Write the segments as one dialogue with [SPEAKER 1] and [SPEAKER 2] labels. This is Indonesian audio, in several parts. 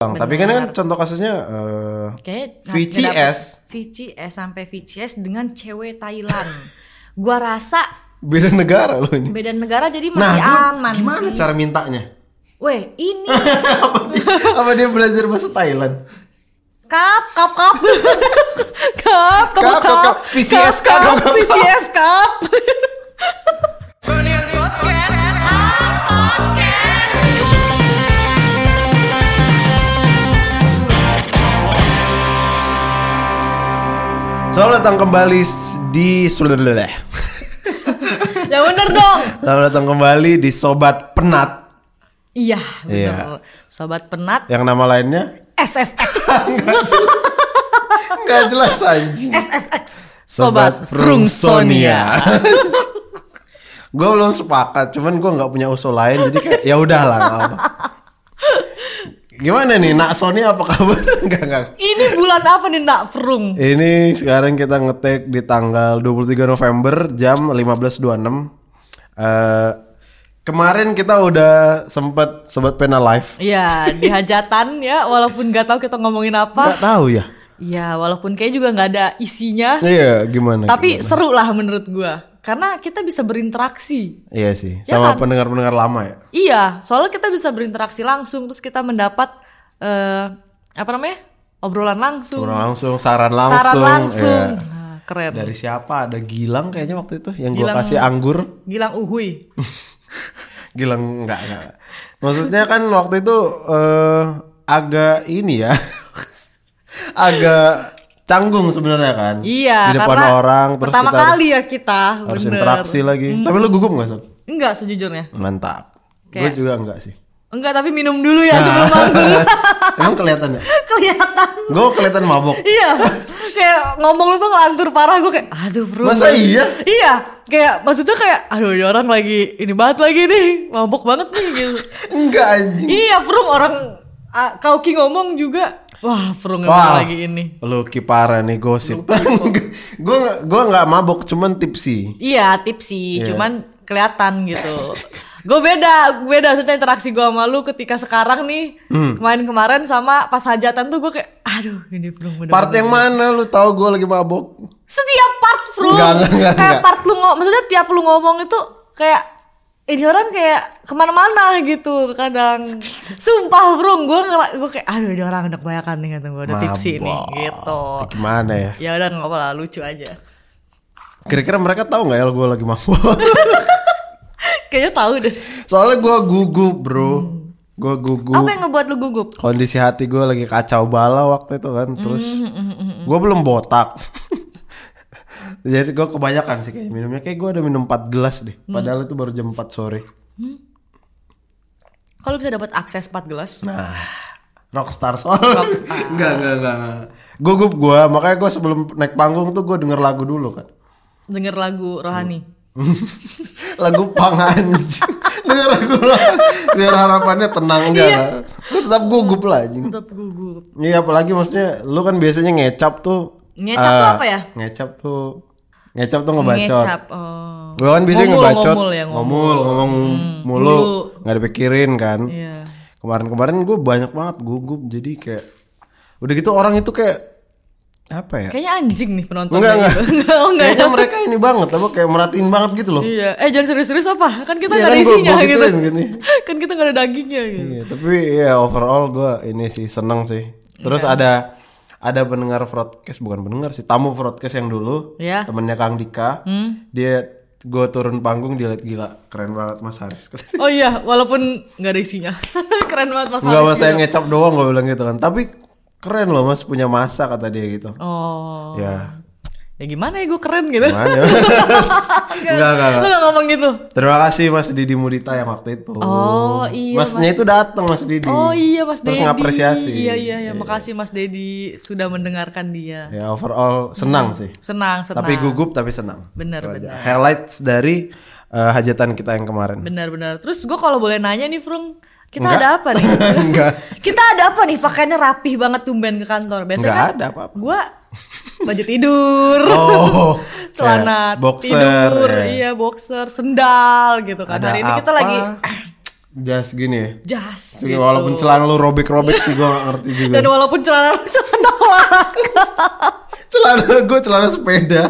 [SPEAKER 1] Bang, Tapi kan kan contoh kasusnya eh,
[SPEAKER 2] Kayak
[SPEAKER 1] VCS.
[SPEAKER 2] VCS sampai VCS dengan cewek Thailand. gua rasa
[SPEAKER 1] beda negara loh ini.
[SPEAKER 2] beda negara jadi
[SPEAKER 1] Nah,
[SPEAKER 2] masih
[SPEAKER 1] lu
[SPEAKER 2] aman
[SPEAKER 1] gimana
[SPEAKER 2] sih.
[SPEAKER 1] cara mintanya?
[SPEAKER 2] Weh, ini
[SPEAKER 1] apa, dia, apa dia belajar bahasa Thailand?
[SPEAKER 2] kap kap kap. kap, kamu
[SPEAKER 1] Kap, kap,
[SPEAKER 2] kap.
[SPEAKER 1] kap. VCS, kap, kap, kap, kap.
[SPEAKER 2] VCS kap.
[SPEAKER 1] Selamat datang kembali s- di
[SPEAKER 2] Ya bener dong.
[SPEAKER 1] Selamat datang kembali di Sobat Penat
[SPEAKER 2] Iya,
[SPEAKER 1] Iya.
[SPEAKER 2] betul. Sobat penat
[SPEAKER 1] yang nama lainnya kan
[SPEAKER 2] SFX.
[SPEAKER 1] nggak jelas anjing.
[SPEAKER 2] SFX. Eh, Sobat Frungsonia.
[SPEAKER 1] gue belum sepakat, cuman gue nggak punya usul lain, jadi kayak ya udahlah. nggak apa. Gimana nih, Nak Sony apa kabar? Enggak, enggak.
[SPEAKER 2] Ini bulan apa nih Nak Frung?
[SPEAKER 1] Ini sekarang kita ngetek di tanggal 23 November jam 15.26. Eh, kemarin kita udah sempet sobat pena live.
[SPEAKER 2] Iya, di hajatan ya, walaupun gak tahu kita ngomongin apa.
[SPEAKER 1] Nggak tahu ya.
[SPEAKER 2] Iya, walaupun kayak juga nggak ada isinya,
[SPEAKER 1] Iya, gimana?
[SPEAKER 2] tapi seru lah menurut gua. Karena kita bisa berinteraksi.
[SPEAKER 1] Iya sih,
[SPEAKER 2] Ya
[SPEAKER 1] sama
[SPEAKER 2] kan?
[SPEAKER 1] pendengar-pendengar lama ya.
[SPEAKER 2] Iya, soalnya kita bisa berinteraksi langsung terus kita mendapat eh apa namanya? obrolan langsung,
[SPEAKER 1] Orang langsung saran langsung.
[SPEAKER 2] saran langsung.
[SPEAKER 1] Iya.
[SPEAKER 2] Nah, keren.
[SPEAKER 1] Dari siapa? Ada Gilang kayaknya waktu itu yang gue
[SPEAKER 2] Gilang-
[SPEAKER 1] kasih anggur.
[SPEAKER 2] Gilang Uhui.
[SPEAKER 1] Gilang enggak enggak. Maksudnya kan waktu itu eh agak ini ya. agak canggung sebenarnya kan.
[SPEAKER 2] Iya,
[SPEAKER 1] Di depan
[SPEAKER 2] karena
[SPEAKER 1] orang terus
[SPEAKER 2] pertama
[SPEAKER 1] kita
[SPEAKER 2] kali ya kita
[SPEAKER 1] harus
[SPEAKER 2] bener. Hmm.
[SPEAKER 1] interaksi lagi. Tapi lu gugup enggak, Sob?
[SPEAKER 2] Enggak sejujurnya.
[SPEAKER 1] Mantap. Gue
[SPEAKER 2] Kayak-
[SPEAKER 1] juga enggak sih.
[SPEAKER 2] Enggak, tapi minum dulu
[SPEAKER 1] Nah.
[SPEAKER 2] ya sebelum manggung.
[SPEAKER 1] Emang kelihatan ya?
[SPEAKER 2] Kelihatan.
[SPEAKER 1] Gue kelihatan mabok.
[SPEAKER 2] Iya, kayak ngomong lu tuh ngelantur parah gue kayak aduh bro.
[SPEAKER 1] Masa iya?
[SPEAKER 2] Iya, kayak maksudnya kayak aduh ini orang lagi ini banget lagi nih, mabok banget nih gitu.
[SPEAKER 1] Enggak anjing.
[SPEAKER 2] iya, Prung orang ah, Kauki ngomong juga. Wah, Prung emang
[SPEAKER 1] Wah,
[SPEAKER 2] lagi ini.
[SPEAKER 1] Lu kipara nih gosip. Gue gua nggak mabok, cuman tipsi.
[SPEAKER 2] Iya, tipsi, cuman kelihatan gitu. gue beda, gue beda maksudnya interaksi gue sama lu ketika sekarang nih
[SPEAKER 1] Hmm.
[SPEAKER 2] kemarin-kemarin sama pas hajatan tuh gue kayak aduh ini Prung bener
[SPEAKER 1] Part yang mana lu tahu gue lagi mabok?
[SPEAKER 2] setiap part bro
[SPEAKER 1] Enggak, enggak, enggak,
[SPEAKER 2] kayak
[SPEAKER 1] enggak.
[SPEAKER 2] part lu ngomong maksudnya tiap lu ngomong itu kayak ini orang kayak kemana-mana gitu kadang sumpah bro gue gue kayak aduh ini orang udah kebanyakan nih kata gue udah tipsi nih
[SPEAKER 1] Mabok.
[SPEAKER 2] gitu
[SPEAKER 1] Gimana ya?
[SPEAKER 2] ya udah nggak apa lah lucu aja
[SPEAKER 1] Kira-kira mereka tahu nggak ya gue lagi mabuk?
[SPEAKER 2] kayaknya tahu deh
[SPEAKER 1] Soalnya gue gugup bro, gue gugup.
[SPEAKER 2] apa yang ngebuat lu gugup
[SPEAKER 1] Kondisi hati gue lagi kacau bala waktu itu kan, terus gue belum botak. Jadi gue kebanyakan sih kayak minumnya kayak gue udah minum 4 gelas deh. Padahal itu baru jam 4 sore.
[SPEAKER 2] kalau bisa dapat akses 4 gelas
[SPEAKER 1] Nah, rockstar soalnya. Enggak, enggak, enggak. Gugup gue, makanya gue sebelum naik panggung tuh gue denger lagu dulu kan.
[SPEAKER 2] denger lagu rohani
[SPEAKER 1] lagu pang anjing denger lagu lah. biar harapannya tenang
[SPEAKER 2] Iya.
[SPEAKER 1] enggak gue tetap gugup lah anjing
[SPEAKER 2] tetap gugup
[SPEAKER 1] Iya apalagi maksudnya lu kan biasanya ngecap tuh
[SPEAKER 2] Ngecap tuh
[SPEAKER 1] eh,
[SPEAKER 2] apa ya?
[SPEAKER 1] ngecap tuh ngecap tuh ngebacot
[SPEAKER 2] ngecap oh
[SPEAKER 1] gue kan biasanya
[SPEAKER 2] Ngomul,
[SPEAKER 1] ngebacot
[SPEAKER 2] ngomul ya, ngomul. Hmm,
[SPEAKER 1] ngomong mulu
[SPEAKER 2] mulu.
[SPEAKER 1] nggak dipikirin kan
[SPEAKER 2] iya
[SPEAKER 1] kemarin-kemarin gue banyak banget gugup jadi kayak udah gitu orang itu kayak apa ya
[SPEAKER 2] kayaknya anjing nih penonton
[SPEAKER 1] Enggak,
[SPEAKER 2] kayak
[SPEAKER 1] enggak.
[SPEAKER 2] gitu. enggak oh, enggak
[SPEAKER 1] kayaknya mereka ini banget apa kayak merhatiin banget gitu loh
[SPEAKER 2] Iya, eh jangan serius-serius apa? Kan kita
[SPEAKER 1] Iya,
[SPEAKER 2] nggak ada
[SPEAKER 1] kan gua-
[SPEAKER 2] isinya
[SPEAKER 1] gua
[SPEAKER 2] gitu.
[SPEAKER 1] gituin gini.
[SPEAKER 2] kan kita nggak ada dagingnya gitu.
[SPEAKER 1] Iya, tapi ya overall gue ini sih seneng sih. Terus
[SPEAKER 2] Iya.
[SPEAKER 1] ada ada pendengar broadcast bukan pendengar sih tamu broadcast yang dulu
[SPEAKER 2] Iya. Hmm.
[SPEAKER 1] temennya Kang Dika dia gue turun panggung dia liat gila keren banget Mas Haris
[SPEAKER 2] Oh iya, walaupun nggak ada isinya. Keren banget Mas
[SPEAKER 1] nggak mas
[SPEAKER 2] Haris.
[SPEAKER 1] saya ngecap doang gue bilang gitu kan tapi keren loh Mas punya masa kata dia gitu
[SPEAKER 2] Oh.
[SPEAKER 1] ya
[SPEAKER 2] Ya gimana ya gue keren gitu.
[SPEAKER 1] makanya enggak enggak
[SPEAKER 2] Lu nggak ngomong gitu.
[SPEAKER 1] terima kasih Mas Didi Mudita yang waktu itu
[SPEAKER 2] Oh, iya,
[SPEAKER 1] masnya itu datang Mas Didi
[SPEAKER 2] Oh iya Mas
[SPEAKER 1] Hmm. terus
[SPEAKER 2] Dedi.
[SPEAKER 1] ngapresiasi
[SPEAKER 2] Iya iya ya, makasih Mas Dedi sudah mendengarkan dia.
[SPEAKER 1] ya overall senang sih
[SPEAKER 2] Senang, Hmm. senang.
[SPEAKER 1] tapi gugup tapi senang
[SPEAKER 2] Bener,
[SPEAKER 1] Itu aja.
[SPEAKER 2] bener.
[SPEAKER 1] highlights dari eh, hajatan kita yang kemarin
[SPEAKER 2] Benar-benar. Terus gue kalau boleh nanya nih, Frung, kita
[SPEAKER 1] Enggak.
[SPEAKER 2] ada apa nih?
[SPEAKER 1] Enggak.
[SPEAKER 2] Kita ada apa nih? Pakainya rapih banget tumben ke kantor. Biasanya
[SPEAKER 1] Enggak
[SPEAKER 2] kan
[SPEAKER 1] ada apa-apa.
[SPEAKER 2] Gue baju tidur.
[SPEAKER 1] oh ya,
[SPEAKER 2] celana
[SPEAKER 1] boxer
[SPEAKER 2] tidur,
[SPEAKER 1] ya.
[SPEAKER 2] iya boxer, sendal gitu kan.
[SPEAKER 1] Ada
[SPEAKER 2] Hari ini kita
[SPEAKER 1] apa?
[SPEAKER 2] lagi
[SPEAKER 1] jas gini ya
[SPEAKER 2] jas
[SPEAKER 1] Tapi
[SPEAKER 2] gitu.
[SPEAKER 1] walaupun celana lu robek-robek sih gue gak ngerti juga
[SPEAKER 2] dan walaupun celana celana olahraga
[SPEAKER 1] celana gue celana sepeda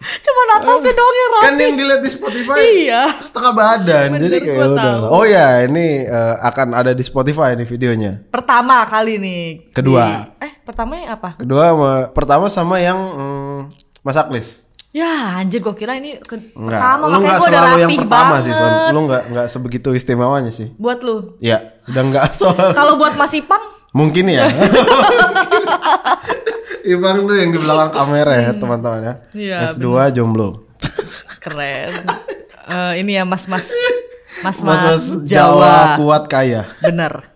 [SPEAKER 2] cuman atasnya doang ya, yang rapi
[SPEAKER 1] kan yang dilihat di Spotify
[SPEAKER 2] Iya.
[SPEAKER 1] setengah badan jadi
[SPEAKER 2] Bener,
[SPEAKER 1] kayak
[SPEAKER 2] gua
[SPEAKER 1] udah
[SPEAKER 2] tahu.
[SPEAKER 1] oh ya ini eh, akan ada di Spotify nih videonya
[SPEAKER 2] pertama kali nih
[SPEAKER 1] Kedua.
[SPEAKER 2] di- eh pertamanya apa
[SPEAKER 1] kedua sama, pertama sama yang mm, Mas Aklis
[SPEAKER 2] ya anjir gua kira ini ke-
[SPEAKER 1] Enggak,
[SPEAKER 2] pertama
[SPEAKER 1] lu
[SPEAKER 2] makanya
[SPEAKER 1] nggak
[SPEAKER 2] gua udah
[SPEAKER 1] selalu
[SPEAKER 2] rapi
[SPEAKER 1] yang pertama
[SPEAKER 2] banget
[SPEAKER 1] sih, Son. Lu nggak nggak sebegitu istimewanya sih.
[SPEAKER 2] buat lu
[SPEAKER 1] Ya, udah nggak soal.
[SPEAKER 2] kalau buat Mas Ipang
[SPEAKER 1] Mungkin ya. Ibang tuh yang di belakang kamera ya, teman-teman ya.
[SPEAKER 2] Iya,
[SPEAKER 1] S2 jomblo.
[SPEAKER 2] keren Eh, ini ya Mas Mas Mas Mas,
[SPEAKER 1] Mas-mas
[SPEAKER 2] Jawa,
[SPEAKER 1] Jawa kuat kaya.
[SPEAKER 2] bener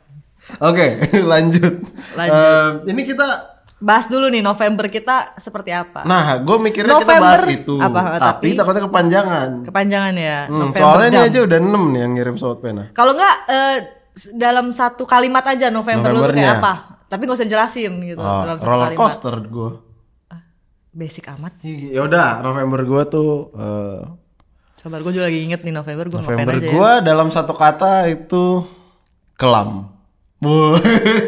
[SPEAKER 1] Oke, lanjut.
[SPEAKER 2] Lanjut.
[SPEAKER 1] Eh, ini kita
[SPEAKER 2] bahas dulu nih November kita seperti apa
[SPEAKER 1] Nah, gue mikirnya kita
[SPEAKER 2] November,
[SPEAKER 1] bahas itu,
[SPEAKER 2] apa,
[SPEAKER 1] tapi,
[SPEAKER 2] tapi-
[SPEAKER 1] takutnya kepanjangan.
[SPEAKER 2] kepanjangan ya
[SPEAKER 1] Hmm,
[SPEAKER 2] November
[SPEAKER 1] soalnya ini
[SPEAKER 2] Dump.
[SPEAKER 1] aja udah 6 nih yang ngirim sobat pena.
[SPEAKER 2] Kalau nggak eh, s- dalam satu kalimat aja November lu tuh kayak
[SPEAKER 1] Novembernya.
[SPEAKER 2] apa? Tapi nggak usah jelasin gitu
[SPEAKER 1] Oh,
[SPEAKER 2] dalam satu
[SPEAKER 1] roller
[SPEAKER 2] kalimat.
[SPEAKER 1] coaster gue.
[SPEAKER 2] Basic amat.
[SPEAKER 1] Ya udah, November gue tuh eh,
[SPEAKER 2] Sabar gue juga lagi inget nih November gue ngapain
[SPEAKER 1] November
[SPEAKER 2] aja. ya.
[SPEAKER 1] gue dalam satu kata itu kelam. Wah,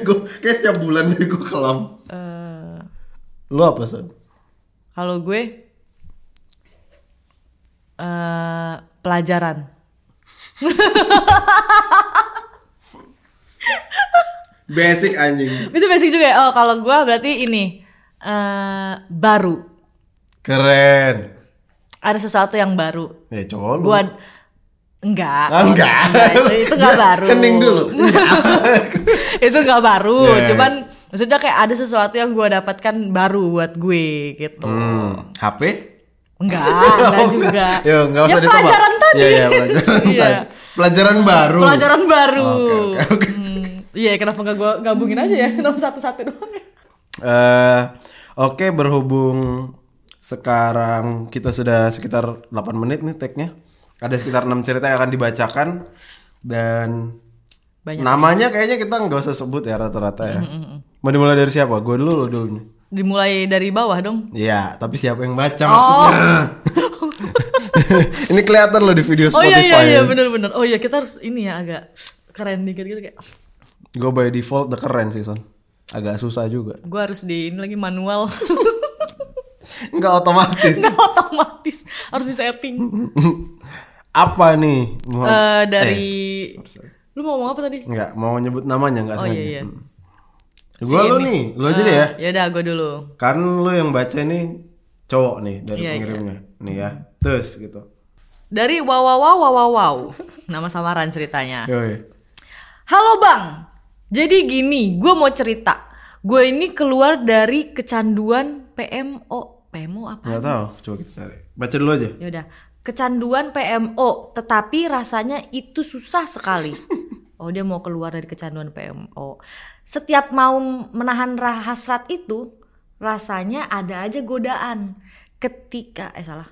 [SPEAKER 1] gue kayak setiap bulan deh gue kelam.
[SPEAKER 2] Eh,
[SPEAKER 1] Lu apa sih?
[SPEAKER 2] Kalau gue eh pelajaran.
[SPEAKER 1] Basic anjing.
[SPEAKER 2] Itu basic juga. ya? Oh kalau gue berarti ini eh baru.
[SPEAKER 1] Keren.
[SPEAKER 2] Ada sesuatu yang baru.
[SPEAKER 1] Ya cowok lu.
[SPEAKER 2] Gue enggak.
[SPEAKER 1] Ah, enggak.
[SPEAKER 2] Iya, Itu, itu enggak
[SPEAKER 1] Dia
[SPEAKER 2] baru.
[SPEAKER 1] Kening dulu.
[SPEAKER 2] itu nggak baru
[SPEAKER 1] Yeah.
[SPEAKER 2] cuman maksudnya kayak ada sesuatu yang gue dapatkan baru buat gue gitu
[SPEAKER 1] Hmm, HP?
[SPEAKER 2] enggak enggak
[SPEAKER 1] Oh,
[SPEAKER 2] juga
[SPEAKER 1] Ya, enggak usah
[SPEAKER 2] ya pelajaran
[SPEAKER 1] ditebak.
[SPEAKER 2] tadi
[SPEAKER 1] Iya, iya, pelajaran
[SPEAKER 2] Iya.
[SPEAKER 1] tadi. Pelajaran baru.
[SPEAKER 2] pelajaran baru
[SPEAKER 1] Hmm. Oke, oke, oke.
[SPEAKER 2] Hmm, iya kenapa nggak gue gabungin aja ya kenapa satu-satu doang ya?
[SPEAKER 1] Eh, oke, berhubung sekarang kita sudah sekitar 8 menit nih tag-nya. Ada sekitar 6 cerita yang akan dibacakan dan
[SPEAKER 2] Banyak.
[SPEAKER 1] namanya kayaknya kita nggak usah sebut ya rata-rata ya. Mau dimulai dari siapa? Gue dulu lo dulu nih.
[SPEAKER 2] dimulai dari bawah dong
[SPEAKER 1] Iya, tapi siapa yang baca
[SPEAKER 2] Oh.
[SPEAKER 1] maksudnya? Ini kelihatan loh di video
[SPEAKER 2] oh
[SPEAKER 1] Spotify. ya.
[SPEAKER 2] iya iya iya benar-benar oh iya kita harus ini ya agak keren dikit gitu kayak
[SPEAKER 1] Gue by default the keren sih, Son. Agak susah juga.
[SPEAKER 2] gue harus di ini lagi manual
[SPEAKER 1] Nggak otomatis.
[SPEAKER 2] nggak otomatis harus
[SPEAKER 1] Hmm.
[SPEAKER 2] disetting
[SPEAKER 1] Apa nih? Mau-
[SPEAKER 2] Eh
[SPEAKER 1] Eh,
[SPEAKER 2] dari lu mau ngomong apa tadi
[SPEAKER 1] nggak mau nyebut namanya nggak
[SPEAKER 2] oh
[SPEAKER 1] sengaja. Hmm.
[SPEAKER 2] iya iya
[SPEAKER 1] Gua lu nih, lu aja deh ya.
[SPEAKER 2] ya udah gue dulu
[SPEAKER 1] Kan lu yang baca ini cowok nih dari
[SPEAKER 2] Iya,
[SPEAKER 1] pengirimnya. Nih ya. Terus gitu.
[SPEAKER 2] Dari wow wow wow wow wow wow. Nama samaran ceritanya.
[SPEAKER 1] Yoi.
[SPEAKER 2] Halo bang. Jadi gini, gue mau cerita. Gue ini keluar dari kecanduan PMO. PMO apa?
[SPEAKER 1] Nggak tahu, coba kita cari. Baca dulu aja.
[SPEAKER 2] Ya udah. Kecanduan PMO, tetapi rasanya itu susah sekali. Oh dia mau keluar dari kecanduan PMO. Setiap mau menahan ra- hasrat itu, rasanya ada aja godaan. Ketika, eh salah.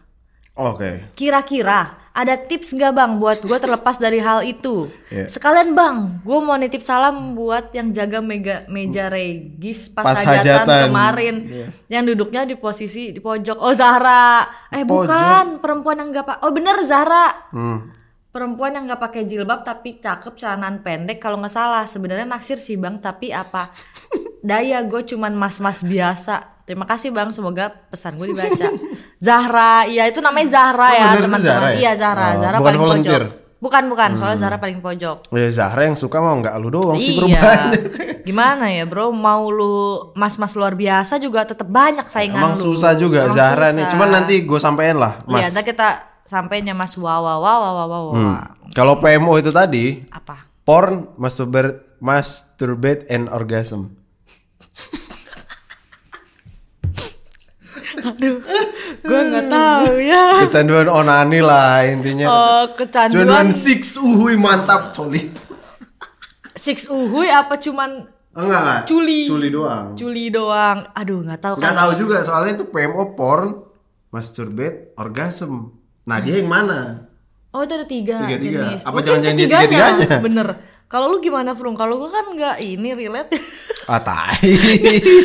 [SPEAKER 1] Oke.
[SPEAKER 2] Kira-kira ada tips nggak bang buat gue terlepas dari hal itu?
[SPEAKER 1] Iya.
[SPEAKER 2] Sekalian bang, gue mau nitip salam buat yang jaga mega meja regis pas,
[SPEAKER 1] Hmm. Pas
[SPEAKER 2] hajatan,
[SPEAKER 1] hajatan.
[SPEAKER 2] kemarin,
[SPEAKER 1] Iya.
[SPEAKER 2] yang duduknya di posisi di pojok. Oh Zahra, eh
[SPEAKER 1] Pojok.
[SPEAKER 2] bukan perempuan yang nggak pak. Oh bener Zahra,
[SPEAKER 1] Hmm.
[SPEAKER 2] perempuan yang nggak pakai jilbab tapi cakep celanaan pendek kalau nggak salah. Sebenarnya naksir sih bang, tapi apa daya gue cuman mas-mas biasa. Terima kasih bang, semoga pesan gue dibaca. Zahra, iya itu namanya Zahra
[SPEAKER 1] Oh,
[SPEAKER 2] ya
[SPEAKER 1] bener itu Zahra
[SPEAKER 2] teman-teman.
[SPEAKER 1] ya?
[SPEAKER 2] Iya Zahra,
[SPEAKER 1] Oh,
[SPEAKER 2] Zahra
[SPEAKER 1] bukan
[SPEAKER 2] paling
[SPEAKER 1] volunteer? Hmm.
[SPEAKER 2] pojok. Bukan bukan, soalnya Zahra paling pojok.
[SPEAKER 1] Ya Zahra yang suka mau nggak lu doang sih
[SPEAKER 2] Iya.
[SPEAKER 1] perubahannya.
[SPEAKER 2] Gimana ya bro, mau lu mas-mas luar biasa juga tetap banyak saingan
[SPEAKER 1] Emang
[SPEAKER 2] Kan lu.
[SPEAKER 1] susah juga
[SPEAKER 2] Emang
[SPEAKER 1] Zahra nih.
[SPEAKER 2] susah.
[SPEAKER 1] Cuman nanti gue sampein lah,
[SPEAKER 2] Iya,
[SPEAKER 1] Mas. Hmm.
[SPEAKER 2] ntar kita sampein ya Mas Wawa Wawa Wawa Wawa.
[SPEAKER 1] Kalau PMO itu tadi,
[SPEAKER 2] Apa?
[SPEAKER 1] porn, masturbate, masturbate and orgasm.
[SPEAKER 2] Aduh, gue nggak tahu ya.
[SPEAKER 1] Kecanduan onani lah intinya.
[SPEAKER 2] Oh,
[SPEAKER 1] Eh,
[SPEAKER 2] kecanduan
[SPEAKER 1] Cuman six uhuy mantap coli.
[SPEAKER 2] six uhuy apa cuman
[SPEAKER 1] Oh, Enggak enggak.
[SPEAKER 2] Culi.
[SPEAKER 1] Culi doang.
[SPEAKER 2] culi doang? Aduh, nggak tahu
[SPEAKER 1] Enggak
[SPEAKER 2] kan.
[SPEAKER 1] tahu juga soalnya itu PMO porn, masturbate, orgasm. Nah, dia yang mana?
[SPEAKER 2] Oh, itu ada tiga,
[SPEAKER 1] Tiga-tiga.
[SPEAKER 2] jenis.
[SPEAKER 1] Apa
[SPEAKER 2] Mungkin
[SPEAKER 1] jangan-jangan dia
[SPEAKER 2] ketiganya.
[SPEAKER 1] tiga-tiganya?
[SPEAKER 2] Bener. Kalau lu gimana, Frung? Kalau gua kan nggak ini relate.
[SPEAKER 1] Ah, tai.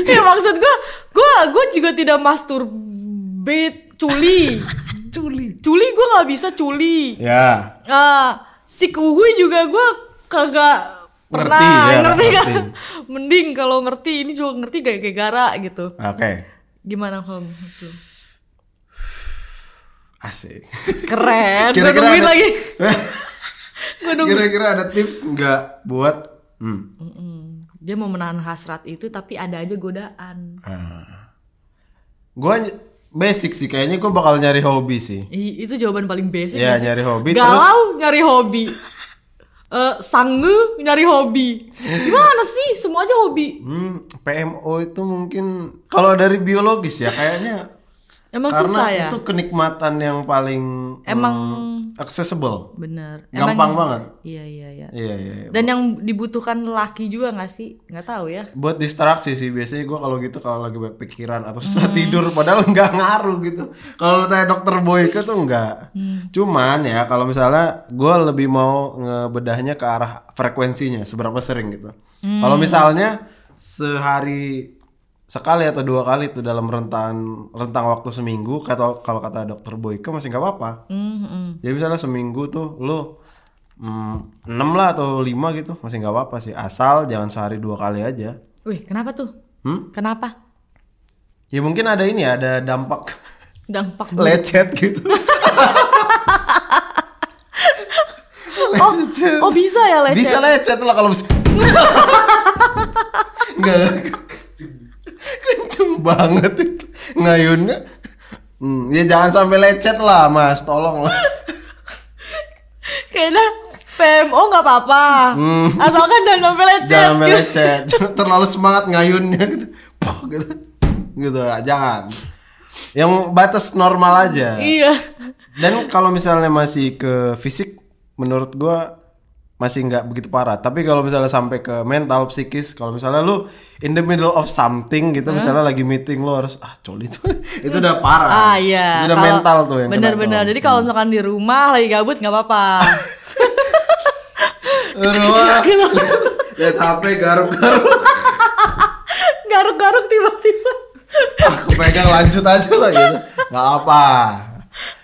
[SPEAKER 2] ya maksud gua, gua gua juga tidak masturbate culi. culi. Culi gua nggak bisa culi.
[SPEAKER 1] ya.
[SPEAKER 2] Ah, si kuhui juga gua kagak pernah
[SPEAKER 1] Ngerti, ya,
[SPEAKER 2] ngerti kan?
[SPEAKER 1] ngerti.
[SPEAKER 2] mending kalau ngerti ini juga ngerti gak gara gitu
[SPEAKER 1] Oke.
[SPEAKER 2] gimana Hom Lu.
[SPEAKER 1] Asik.
[SPEAKER 2] keren gue
[SPEAKER 1] Kira-kira
[SPEAKER 2] nungguin
[SPEAKER 1] ada-
[SPEAKER 2] lagi gue nungguin
[SPEAKER 1] Kira-kira ada tips nggak buat hmm.
[SPEAKER 2] dia mau menahan hasrat itu tapi ada aja godaan
[SPEAKER 1] Gue basic sih kayaknya gue bakal nyari hobi sih.
[SPEAKER 2] I- itu jawaban paling basic
[SPEAKER 1] Iya,
[SPEAKER 2] gak sih?
[SPEAKER 1] nyari hobi,
[SPEAKER 2] galau nyari hobi Eh sange nyari hobi gimana sih semua aja hobi
[SPEAKER 1] Hmm, PMO itu mungkin kalau dari biologis ya kayaknya
[SPEAKER 2] emang
[SPEAKER 1] karena
[SPEAKER 2] susah ya
[SPEAKER 1] itu kenikmatan yang paling hmm,
[SPEAKER 2] Emang-
[SPEAKER 1] accessible.
[SPEAKER 2] bener Emang-
[SPEAKER 1] Gampang banget.
[SPEAKER 2] iya iya iya
[SPEAKER 1] Iya, iya. iya.
[SPEAKER 2] dan yang dibutuhkan laki juga gak sih nggak tahu ya
[SPEAKER 1] buat distraksi sih biasanya gue kalau gitu kalau lagi banyak pikiran atau susah tidur padahal nggak ngaruh gitu kalau lu tanya dokter Boyke tuh nggak cuman ya kalau misalnya gue lebih mau ngebedahnya ke arah frekuensinya seberapa sering gitu kalau misalnya sehari sekali atau dua kali tuh dalam rentang rentang waktu seminggu kata kalau kata dokter Boyke masih nggak apa-apa
[SPEAKER 2] Mm-hmm.
[SPEAKER 1] jadi misalnya seminggu tuh lu mm, 6 lah atau 5 gitu masih nggak apa-apa sih asal jangan sehari dua kali aja.
[SPEAKER 2] wih kenapa tuh
[SPEAKER 1] Hmm?
[SPEAKER 2] kenapa
[SPEAKER 1] Ya mungkin ada ini ya ada dampak
[SPEAKER 2] dampak
[SPEAKER 1] lecet gitu. lecet.
[SPEAKER 2] oh bisa ya lecet
[SPEAKER 1] Bisa lecet lah kalau mis- Nggak nggak. kenceng banget itu ngayunnya. Hmm, ya jangan sampai lecet lah mas, tolong lah.
[SPEAKER 2] kayaknya PMO nggak apa-apa asalkan jangan sampai lecet
[SPEAKER 1] Hmm. jangan melecet terlalu semangat ngayunnya gitu Poh, gitu gitu ah, jangan yang batas normal aja
[SPEAKER 2] iya
[SPEAKER 1] dan kalau misalnya masih ke fisik menurut gua masih nggak begitu parah tapi kalau misalnya sampai ke mental psikis kalau misalnya lu in the middle of something gitu misalnya lagi meeting lu harus ah coli itu itu udah parah
[SPEAKER 2] ah iya
[SPEAKER 1] itu udah
[SPEAKER 2] Kalau-
[SPEAKER 1] mental tuh yang kena Hmm.
[SPEAKER 2] bener-bener
[SPEAKER 1] tuh.
[SPEAKER 2] jadi kalau misalkan di rumah lagi gabut nggak apa-apa
[SPEAKER 1] Aduh, ah.
[SPEAKER 2] Gitu.
[SPEAKER 1] lihat HP garuk-garuk
[SPEAKER 2] garuk-garuk tiba-tiba
[SPEAKER 1] aku pegang lanjut aja lah gitu nggak apa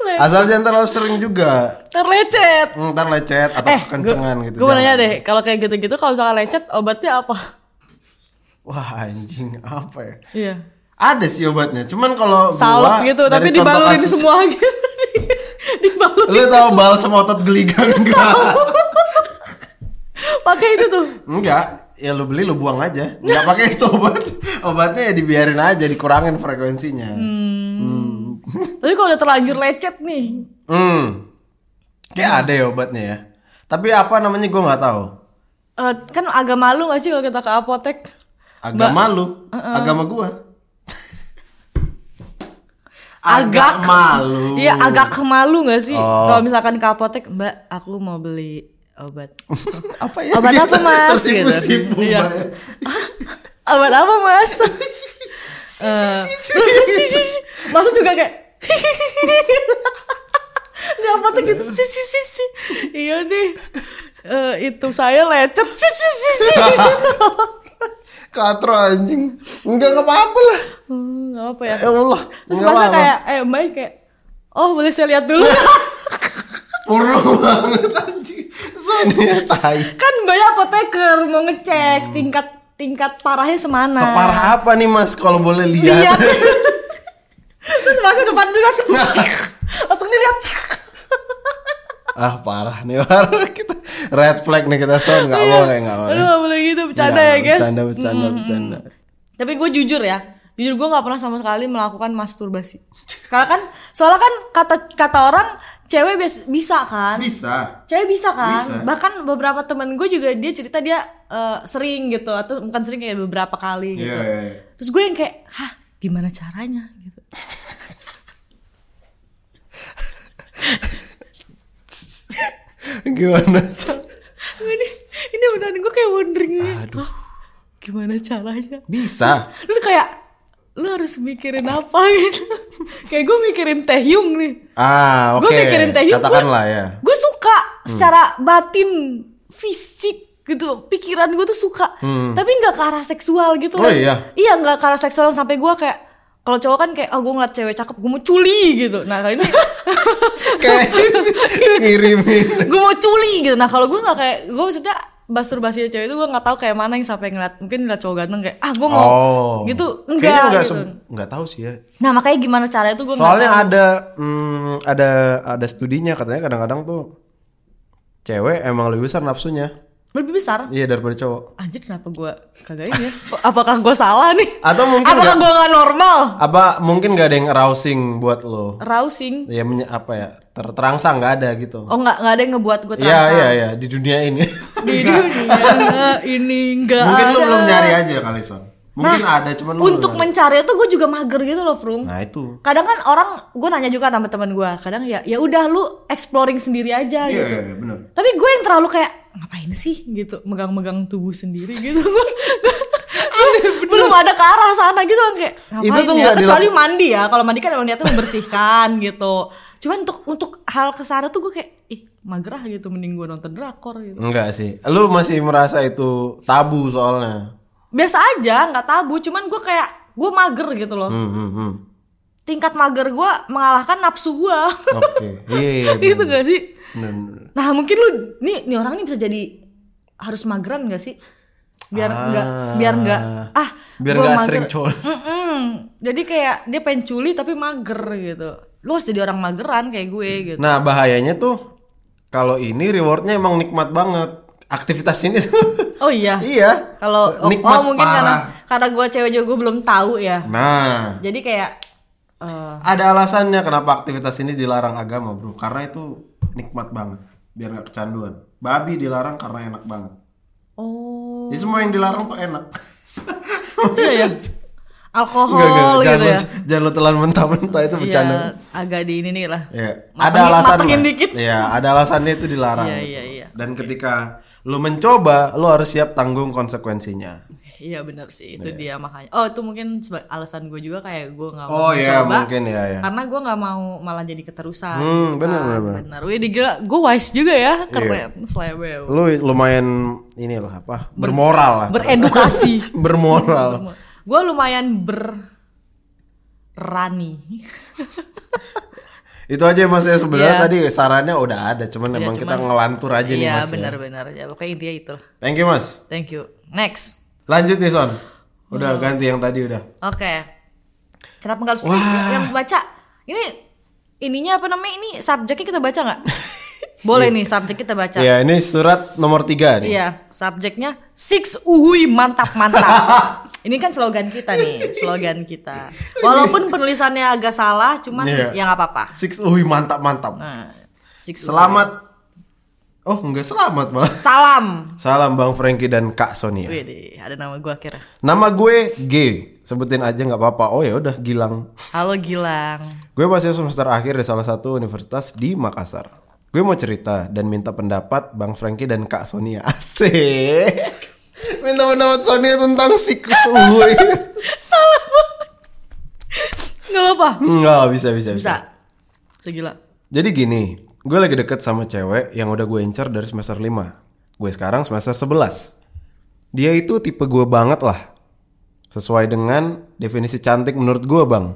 [SPEAKER 2] Lecet.
[SPEAKER 1] asal jangan terlalu sering juga
[SPEAKER 2] terlecet
[SPEAKER 1] Hmm, ntar lecet atau kekencengan gitu
[SPEAKER 2] gue Eh, mau
[SPEAKER 1] jangan.
[SPEAKER 2] nanya deh kalau kayak gitu-gitu kalau misalkan lecet obatnya apa
[SPEAKER 1] wah anjing apa ya
[SPEAKER 2] iya
[SPEAKER 1] ada sih obatnya cuman kalau gua
[SPEAKER 2] salep gitu
[SPEAKER 1] dari
[SPEAKER 2] tapi
[SPEAKER 1] contoh
[SPEAKER 2] dibalurin
[SPEAKER 1] kasus-
[SPEAKER 2] semua gitu dibalurin
[SPEAKER 1] lu tahu balsam otot geligang enggak
[SPEAKER 2] pakai itu tuh
[SPEAKER 1] enggak ya lu beli lu buang aja nggak pakai itu obat obatnya ya dibiarin aja dikurangin frekuensinya
[SPEAKER 2] Hmm. tapi kalau udah terlanjur lecet nih
[SPEAKER 1] Hmm. kayak
[SPEAKER 2] Hmm.
[SPEAKER 1] ada ya obatnya ya tapi apa namanya gua nggak tahu
[SPEAKER 2] eh, kan agak malu gak sih kalau kita ke apotek
[SPEAKER 1] agama lu
[SPEAKER 2] uh-uh.
[SPEAKER 1] agama gua
[SPEAKER 2] Agak-
[SPEAKER 1] agak malu
[SPEAKER 2] Iya agak malu gak sih
[SPEAKER 1] Oh.
[SPEAKER 2] kalau misalkan ke apotek mbak aku mau beli obat
[SPEAKER 1] apa ya
[SPEAKER 2] obat apa mas
[SPEAKER 1] tersipu-sipu
[SPEAKER 2] Iya.
[SPEAKER 1] Mbak.
[SPEAKER 2] "Hah? obat apa mas Eh, si, si, si. masa juga kayak di apotek gitu si si si si iya deh Eh, itu saya lecet si si si si
[SPEAKER 1] katro anjing enggak nggak apa-apa lah
[SPEAKER 2] Hmm, nggak apa ya
[SPEAKER 1] ya Allah
[SPEAKER 2] terus
[SPEAKER 1] nggak
[SPEAKER 2] masa
[SPEAKER 1] apa-apa.
[SPEAKER 2] kayak eh mbak kayak oh boleh saya lihat dulu
[SPEAKER 1] Puru banget anjing Sony tai
[SPEAKER 2] kan banyak apoteker mau ngecek tingkat tingkat parahnya semana
[SPEAKER 1] Hmm. separah apa nih mas kalau boleh
[SPEAKER 2] Ah. iya
[SPEAKER 1] lihat
[SPEAKER 2] terus masa depan dulu langsung langsung dilihat
[SPEAKER 1] ah parah nih parah kita red flag nih kita son nggak boleh nggak boleh
[SPEAKER 2] Iya. aduh nggak boleh gitu bercanda
[SPEAKER 1] Nggak,
[SPEAKER 2] ya guys Hmm.
[SPEAKER 1] bercanda bercanda bercanda
[SPEAKER 2] tapi gue jujur ya jujur gue nggak pernah sama sekali melakukan masturbasi karena kan soalnya kan kata kata orang cewek bias- bisa kan
[SPEAKER 1] bisa
[SPEAKER 2] cewek bisa kan
[SPEAKER 1] Bisa.
[SPEAKER 2] bahkan beberapa temen gue juga dia cerita dia eh, sering gitu atau bukan sering kayak beberapa kali gitu
[SPEAKER 1] Iya, iya, iya.
[SPEAKER 2] terus gue yang kayak hah gimana caranya gitu
[SPEAKER 1] gimana Cak?
[SPEAKER 2] Gue ini ini beneran gue kayak wondering ini.
[SPEAKER 1] Aduh.
[SPEAKER 2] Hah, gimana caranya
[SPEAKER 1] bisa
[SPEAKER 2] terus kayak lu harus mikirin apa gitu kayak gue mikirin Taehyung nih
[SPEAKER 1] ah oke
[SPEAKER 2] gue mikirin Taehyung gue-
[SPEAKER 1] katakanlah ya
[SPEAKER 2] gue suka secara batin fisik gitu pikiran gue tuh suka tapi nggak ke arah seksual gitu
[SPEAKER 1] Hmm. Oh
[SPEAKER 2] loh.
[SPEAKER 1] iya?
[SPEAKER 2] iya nggak ke arah seksual sampai gue kayak kalau cowok kan kayak oh gue ngeliat cewek cakep gue mau culi gitu nah kali ini
[SPEAKER 1] kayak ngirimin
[SPEAKER 2] gue mau culi gitu nah kalau gue nggak kayak gue maksudnya masturbasi cewek itu gue nggak tahu kayak mana yang sampai ngeliat mungkin ngeliat cowok ganteng kayak ah gue mau
[SPEAKER 1] Oh. Kayaknya
[SPEAKER 2] gitu enggak
[SPEAKER 1] nggak
[SPEAKER 2] gitu
[SPEAKER 1] sem- nggak tahu sih ya
[SPEAKER 2] nah makanya gimana caranya tuh gue
[SPEAKER 1] soalnya ada hmm, ada ada studinya katanya kadang-kadang tuh cewek emang lebih besar nafsunya
[SPEAKER 2] lebih besar
[SPEAKER 1] iya daripada cowok
[SPEAKER 2] anjir kenapa gue kagak ini ya Kok- apakah gue salah nih
[SPEAKER 1] Atau mungkin
[SPEAKER 2] apakah
[SPEAKER 1] nggak-
[SPEAKER 2] gue nggak normal
[SPEAKER 1] apa mungkin nggak ada yang arousing buat lo
[SPEAKER 2] rousing
[SPEAKER 1] ya menye- apa ya ter- terangsang nggak ada gitu
[SPEAKER 2] oh nggak nggak ada yang ngebuat gue
[SPEAKER 1] Iya
[SPEAKER 2] terangsang
[SPEAKER 1] iya iya di dunia ini.
[SPEAKER 2] di dunia ini enggak
[SPEAKER 1] Mungkin lu belum nyari aja kali Son. Mungkin ada cuman lu. belum
[SPEAKER 2] untuk
[SPEAKER 1] nyari.
[SPEAKER 2] mencari itu gue juga mager gitu loh Frung
[SPEAKER 1] Nah itu.
[SPEAKER 2] kadang kan orang gue nanya juga sama teman gue kadang ya ya udah lu exploring sendiri aja
[SPEAKER 1] Iya
[SPEAKER 2] gitu
[SPEAKER 1] iya iya, benar.
[SPEAKER 2] tapi gue yang terlalu kayak ngapain sih gitu megang-megang tubuh sendiri gitu Gue- gue belum ada ke arah sana gitu loh kayak ngapain
[SPEAKER 1] Itu tuh
[SPEAKER 2] ya?
[SPEAKER 1] nggak
[SPEAKER 2] kecuali mandi ya kalau mandi kan emang niatnya membersihkan gitu cuman untuk untuk hal kesana tuh gue kayak ih magerah gitu mending gue nonton drakor gitu
[SPEAKER 1] Enggak sih. Lu masih merasa itu tabu soalnya.
[SPEAKER 2] biasa aja nggak tabu cuman gue kayak gue mager gitu loh
[SPEAKER 1] Hmm, hmm, hmm.
[SPEAKER 2] tingkat mager gue mengalahkan nafsu gue
[SPEAKER 1] Oke. Iya iya.
[SPEAKER 2] gitu gak sih
[SPEAKER 1] bener, bener.
[SPEAKER 2] Nah mungkin lu nih nih orang ini bisa jadi harus mageran gak sih? Biar
[SPEAKER 1] Ah.
[SPEAKER 2] nggak biar nggak ah
[SPEAKER 1] Biar
[SPEAKER 2] gua
[SPEAKER 1] nggak
[SPEAKER 2] mager.
[SPEAKER 1] sering cowok.
[SPEAKER 2] Mm-mm. Jadi kayak dia pengen culi tapi mager gitu. Lu harus jadi orang mageran kayak gue gitu.
[SPEAKER 1] Nah bahayanya tuh kalau ini rewardnya emang nikmat banget. Aktivitas ini tuh.
[SPEAKER 2] Oh iya.
[SPEAKER 1] iya.
[SPEAKER 2] Kalau oh,
[SPEAKER 1] Nikmat
[SPEAKER 2] oh, mungkin
[SPEAKER 1] parah.
[SPEAKER 2] karena karena gue cewek juga gue belum tahu ya.
[SPEAKER 1] Nah.
[SPEAKER 2] Jadi kayak eh,
[SPEAKER 1] Ada alasannya kenapa aktivitas ini dilarang agama, Bro. Karena itu nikmat banget, biar nggak kecanduan. Babi dilarang karena enak banget.
[SPEAKER 2] oh
[SPEAKER 1] Jadi semua yang dilarang tuh enak.
[SPEAKER 2] iya ya. Alkohol
[SPEAKER 1] Nggak, nggak, jangan,
[SPEAKER 2] gitu
[SPEAKER 1] lo,
[SPEAKER 2] ya.
[SPEAKER 1] jangan lo telan mentah-mentah itu bercanda.
[SPEAKER 2] Iya, agak di ini nih lah.
[SPEAKER 1] Iya.
[SPEAKER 2] Matengin-
[SPEAKER 1] Ada alasan.
[SPEAKER 2] matengin
[SPEAKER 1] lah.
[SPEAKER 2] dikit.
[SPEAKER 1] Iya, ada alasannya itu dilarang.
[SPEAKER 2] Iya,
[SPEAKER 1] gitu.
[SPEAKER 2] iya, iya.
[SPEAKER 1] Dan ketika lo mencoba, lo harus siap tanggung konsekuensinya.
[SPEAKER 2] Iya benar sih itu dia makanya. Oh itu mungkin seba- alasan gue juga kayak gue nggak mau
[SPEAKER 1] Oh iya,
[SPEAKER 2] mencoba,
[SPEAKER 1] mungkin ya ya.
[SPEAKER 2] karena gue nggak mau malah jadi keterusan.
[SPEAKER 1] Hmm, benar,
[SPEAKER 2] Ah,
[SPEAKER 1] benar, benar. Iya.
[SPEAKER 2] benar. Wih digila, gue wise juga ya, keren, selebel,
[SPEAKER 1] Lo lumayan inilah apa? Bermoral lah.
[SPEAKER 2] beredukasi.
[SPEAKER 1] bermoral.
[SPEAKER 2] gue lumayan berani.
[SPEAKER 1] Itu aja Mas ya sebenarnya
[SPEAKER 2] Iya.
[SPEAKER 1] tadi sarannya udah ada, cuman emang kita ngelantur aja nih
[SPEAKER 2] Iya
[SPEAKER 1] Mas. ya.
[SPEAKER 2] benar-benar ya pokoknya intinya itu. lah.
[SPEAKER 1] Thank you Mas.
[SPEAKER 2] Thank you. Next,
[SPEAKER 1] Lanjut nih Son.
[SPEAKER 2] Hmm.
[SPEAKER 1] Udah ganti yang tadi udah.
[SPEAKER 2] oke. Kenapa nggak harus yang baca? Ini ininya apa namanya ini subjeknya kita baca nggak? Boleh nih subjek kita baca.
[SPEAKER 1] Iya, ini surat nomor tiga nih.
[SPEAKER 2] Iya, subjeknya six uhui mantap mantap. Ini kan slogan kita nih, slogan kita. Walaupun penulisannya agak salah, cuman
[SPEAKER 1] Iya.
[SPEAKER 2] ya nggak apa-apa.
[SPEAKER 1] Six Uy mantap mantap.
[SPEAKER 2] Nah, six uhui.
[SPEAKER 1] Selamat. Oh, enggak selamat malah.
[SPEAKER 2] Salam.
[SPEAKER 1] Salam Bang Frankie dan Kak
[SPEAKER 2] Iya.
[SPEAKER 1] Sonia.
[SPEAKER 2] Wih, ada nama gue akhirnya.
[SPEAKER 1] Nama gue G. Sebutin aja nggak apa-apa. Oh ya udah Gilang.
[SPEAKER 2] Halo Gilang.
[SPEAKER 1] Gue masih semester akhir di salah satu universitas di Makassar. Gue mau cerita dan minta pendapat Bang Frankie dan Kak Sonia. Asik. Minta pendapat Sonia tentang siklus uhuy.
[SPEAKER 2] salah banget. Nggak apa-apa.
[SPEAKER 1] Enggak, bisa, bisa, bisa.
[SPEAKER 2] Bisa. Segila.
[SPEAKER 1] Jadi gini, gue lagi deket sama cewek yang udah gue incar dari semester 5. Gue sekarang semester 11. Dia itu tipe gue banget lah. Sesuai dengan definisi cantik menurut gue bang.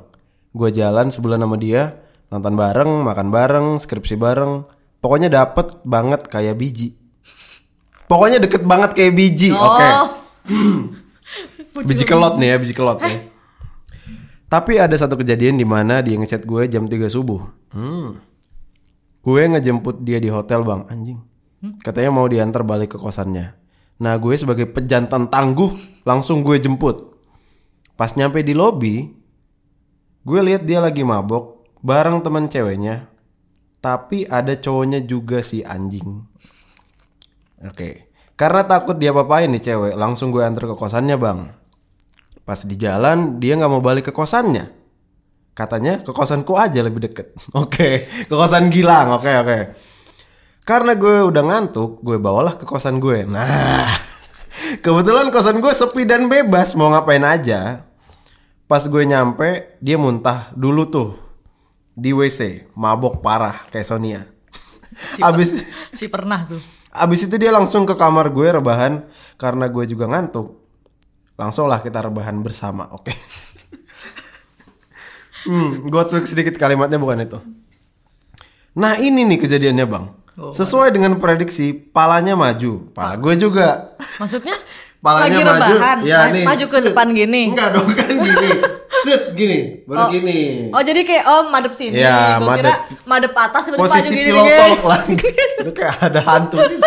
[SPEAKER 1] Gue jalan sebulan sama dia, nonton bareng, makan bareng, skripsi bareng. Pokoknya dapet banget kayak biji. Pokoknya deket banget kayak biji, oke.
[SPEAKER 2] Oh,
[SPEAKER 1] Biji kelot nih ya, biji kelot nih. Tapi ada satu kejadian di mana dia ngechat gue jam 3 subuh. Hmm. Gue ngejemput dia di hotel, Bang. Anjing. Katanya mau diantar balik ke kosannya. Nah, gue sebagai pejantan tangguh langsung gue jemput. Pas nyampe di lobi, gue lihat dia lagi mabok bareng teman ceweknya. Tapi ada cowoknya juga si anjing. Oke. Karena takut dia papain nih cewek, langsung gue antar ke kosannya bang. Pas di jalan, dia nggak mau balik ke kosannya. Katanya ke kosanku aja lebih deket. Oke, ke kosan Gilang. Oke, oke. Karena gue udah ngantuk, gue bawalah ke kosan gue. Nah, kebetulan kosan gue sepi dan bebas, mau ngapain aja. Pas gue nyampe, dia muntah dulu tuh di WC, mabok parah kayak Sonia. Abis
[SPEAKER 2] Si pernah tuh.
[SPEAKER 1] Abis itu dia langsung ke kamar gue rebahan karena gue juga ngantuk. Langsunglah kita rebahan bersama, oke? hmm, gue tweak sedikit kalimatnya bukan itu. Nah ini nih kejadiannya bang.
[SPEAKER 2] Oh,
[SPEAKER 1] Sesuai dengan prediksi, palanya maju. Pala gue juga.
[SPEAKER 2] Maksudnya
[SPEAKER 1] Palanya
[SPEAKER 2] lagi
[SPEAKER 1] maju.
[SPEAKER 2] rebahan,
[SPEAKER 1] Ya,
[SPEAKER 2] ma-
[SPEAKER 1] nih.
[SPEAKER 2] maju ke depan gini.
[SPEAKER 1] Enggak dong kan gini. Set gini, baru gini.
[SPEAKER 2] Oh jadi kayak oh madep sini,
[SPEAKER 1] Ya,
[SPEAKER 2] Gua kira madep atas tiba-tiba maju
[SPEAKER 1] Posisi
[SPEAKER 2] gini,
[SPEAKER 1] pillow
[SPEAKER 2] gini.
[SPEAKER 1] talk lagi. Itu kayak ada hantu. gitu.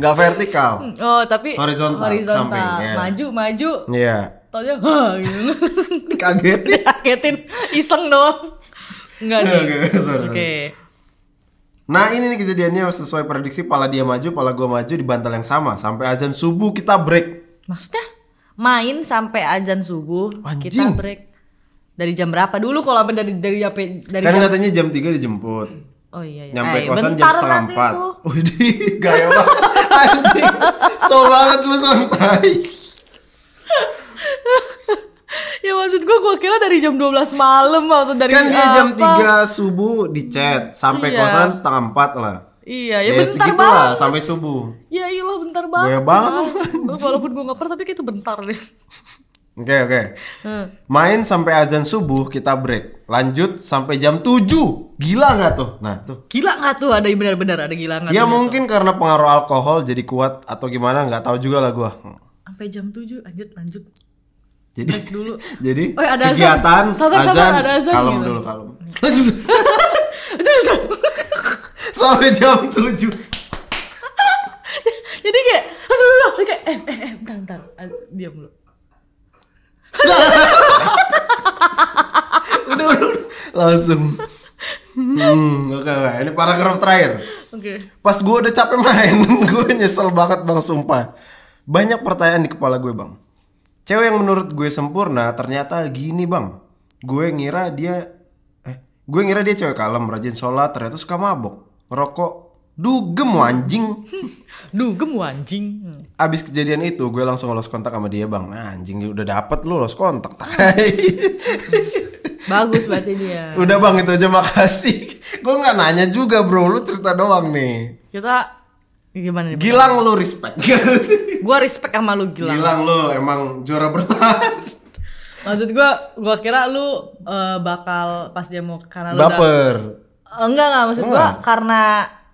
[SPEAKER 1] Nggak vertikal.
[SPEAKER 2] Oh tapi
[SPEAKER 1] Horizontal,
[SPEAKER 2] horizontal.
[SPEAKER 1] samping, ya.
[SPEAKER 2] maju maju,
[SPEAKER 1] Iya.
[SPEAKER 2] taunya hah gitu.
[SPEAKER 1] Kagetin.
[SPEAKER 2] Kagetin iseng doang. Enggak
[SPEAKER 1] Oke,
[SPEAKER 2] nih.
[SPEAKER 1] oke, sorry.
[SPEAKER 2] Oke.
[SPEAKER 1] Nah ini nih kejadiannya sesuai prediksi pala dia maju, pala gue maju di bantal yang sama sampai azan subuh kita break.
[SPEAKER 2] Maksudnya main sampai azan subuh
[SPEAKER 1] Anjing.
[SPEAKER 2] kita break dari jam berapa dulu kalau sampai dari dari sampai dari
[SPEAKER 1] kan
[SPEAKER 2] jam
[SPEAKER 1] katanya jam 3 dijemput.
[SPEAKER 2] Oh iya iya.
[SPEAKER 1] Nyampe
[SPEAKER 2] Eh,
[SPEAKER 1] kosan jam
[SPEAKER 2] bentar
[SPEAKER 1] setengah
[SPEAKER 2] nanti
[SPEAKER 1] empat.
[SPEAKER 2] itu.
[SPEAKER 1] Widih, gaya banget. Anjing, so banget lu santai.
[SPEAKER 2] Ya maksud gua gua kira dari jam 12 malam atau dari
[SPEAKER 1] Kan dia jam
[SPEAKER 2] apa.
[SPEAKER 1] 3 subuh di chat, sampai
[SPEAKER 2] Iya.
[SPEAKER 1] kosan setengah empat lah.
[SPEAKER 2] Iya, ya,
[SPEAKER 1] Ya,
[SPEAKER 2] bentar
[SPEAKER 1] segitulah
[SPEAKER 2] banget.
[SPEAKER 1] sampai subuh.
[SPEAKER 2] Ya iyalah bentar banget.
[SPEAKER 1] Gua banget.
[SPEAKER 2] Gua- Walaupun gua ngeper tapi kayak itu bentar deh.
[SPEAKER 1] Oke oke. Main sampai azan subuh kita break. Lanjut sampai jam 7 Gila nggak tuh? Nah tuh.
[SPEAKER 2] Gila nggak tuh ada yang benar-benar ada gila nggak?
[SPEAKER 1] Ya
[SPEAKER 2] tuh?
[SPEAKER 1] mungkin karena pengaruh alkohol jadi kuat atau gimana nggak tahu juga lah gua.
[SPEAKER 2] Sampai jam 7 lanjut lanjut.
[SPEAKER 1] Jadi
[SPEAKER 2] dulu.
[SPEAKER 1] jadi
[SPEAKER 2] Oh, ada azan.
[SPEAKER 1] kegiatan
[SPEAKER 2] Sabar,
[SPEAKER 1] azan,
[SPEAKER 2] sabar, ada azan
[SPEAKER 1] kalem
[SPEAKER 2] gitu.
[SPEAKER 1] dulu kalem. Sampai jam 7
[SPEAKER 2] Jadi kayak langsung langsung, langsung, kayak eh eh eh bentar bentar Ah, diam lu.
[SPEAKER 1] Udah, udah, udah. langsung. Hmm, oke oke. Ini paragraf terakhir.
[SPEAKER 2] Oke.
[SPEAKER 1] Pas gue udah capek main, gue nyesel banget bang sumpah. Banyak pertanyaan di kepala gue bang. Cewek yang menurut gue sempurna ternyata gini bang. Gue ngira dia, eh, gue ngira dia cewek kalem, rajin sholat, ternyata suka mabok, ngerokok, dugem wah, anjing.
[SPEAKER 2] Dugem lu anjing. Hmm.
[SPEAKER 1] Abis kejadian itu gue langsung lost kontak sama dia bang. Nah, anjing udah dapet lu lost kontak. tai.
[SPEAKER 2] Bagus berarti dia.
[SPEAKER 1] udah bang itu aja makasih. Gue nggak nanya juga bro, lu cerita doang nih.
[SPEAKER 2] Kita gimana nih?
[SPEAKER 1] Gilang lu respect.
[SPEAKER 2] Gua respect sama lu gila.
[SPEAKER 1] Bilang lo emang juara bertahan.
[SPEAKER 2] Maksud gua gua kira lu eh, bakal pas dia mau karena lu udah
[SPEAKER 1] Baper.
[SPEAKER 2] Eh, enggak enggak maksud gua karena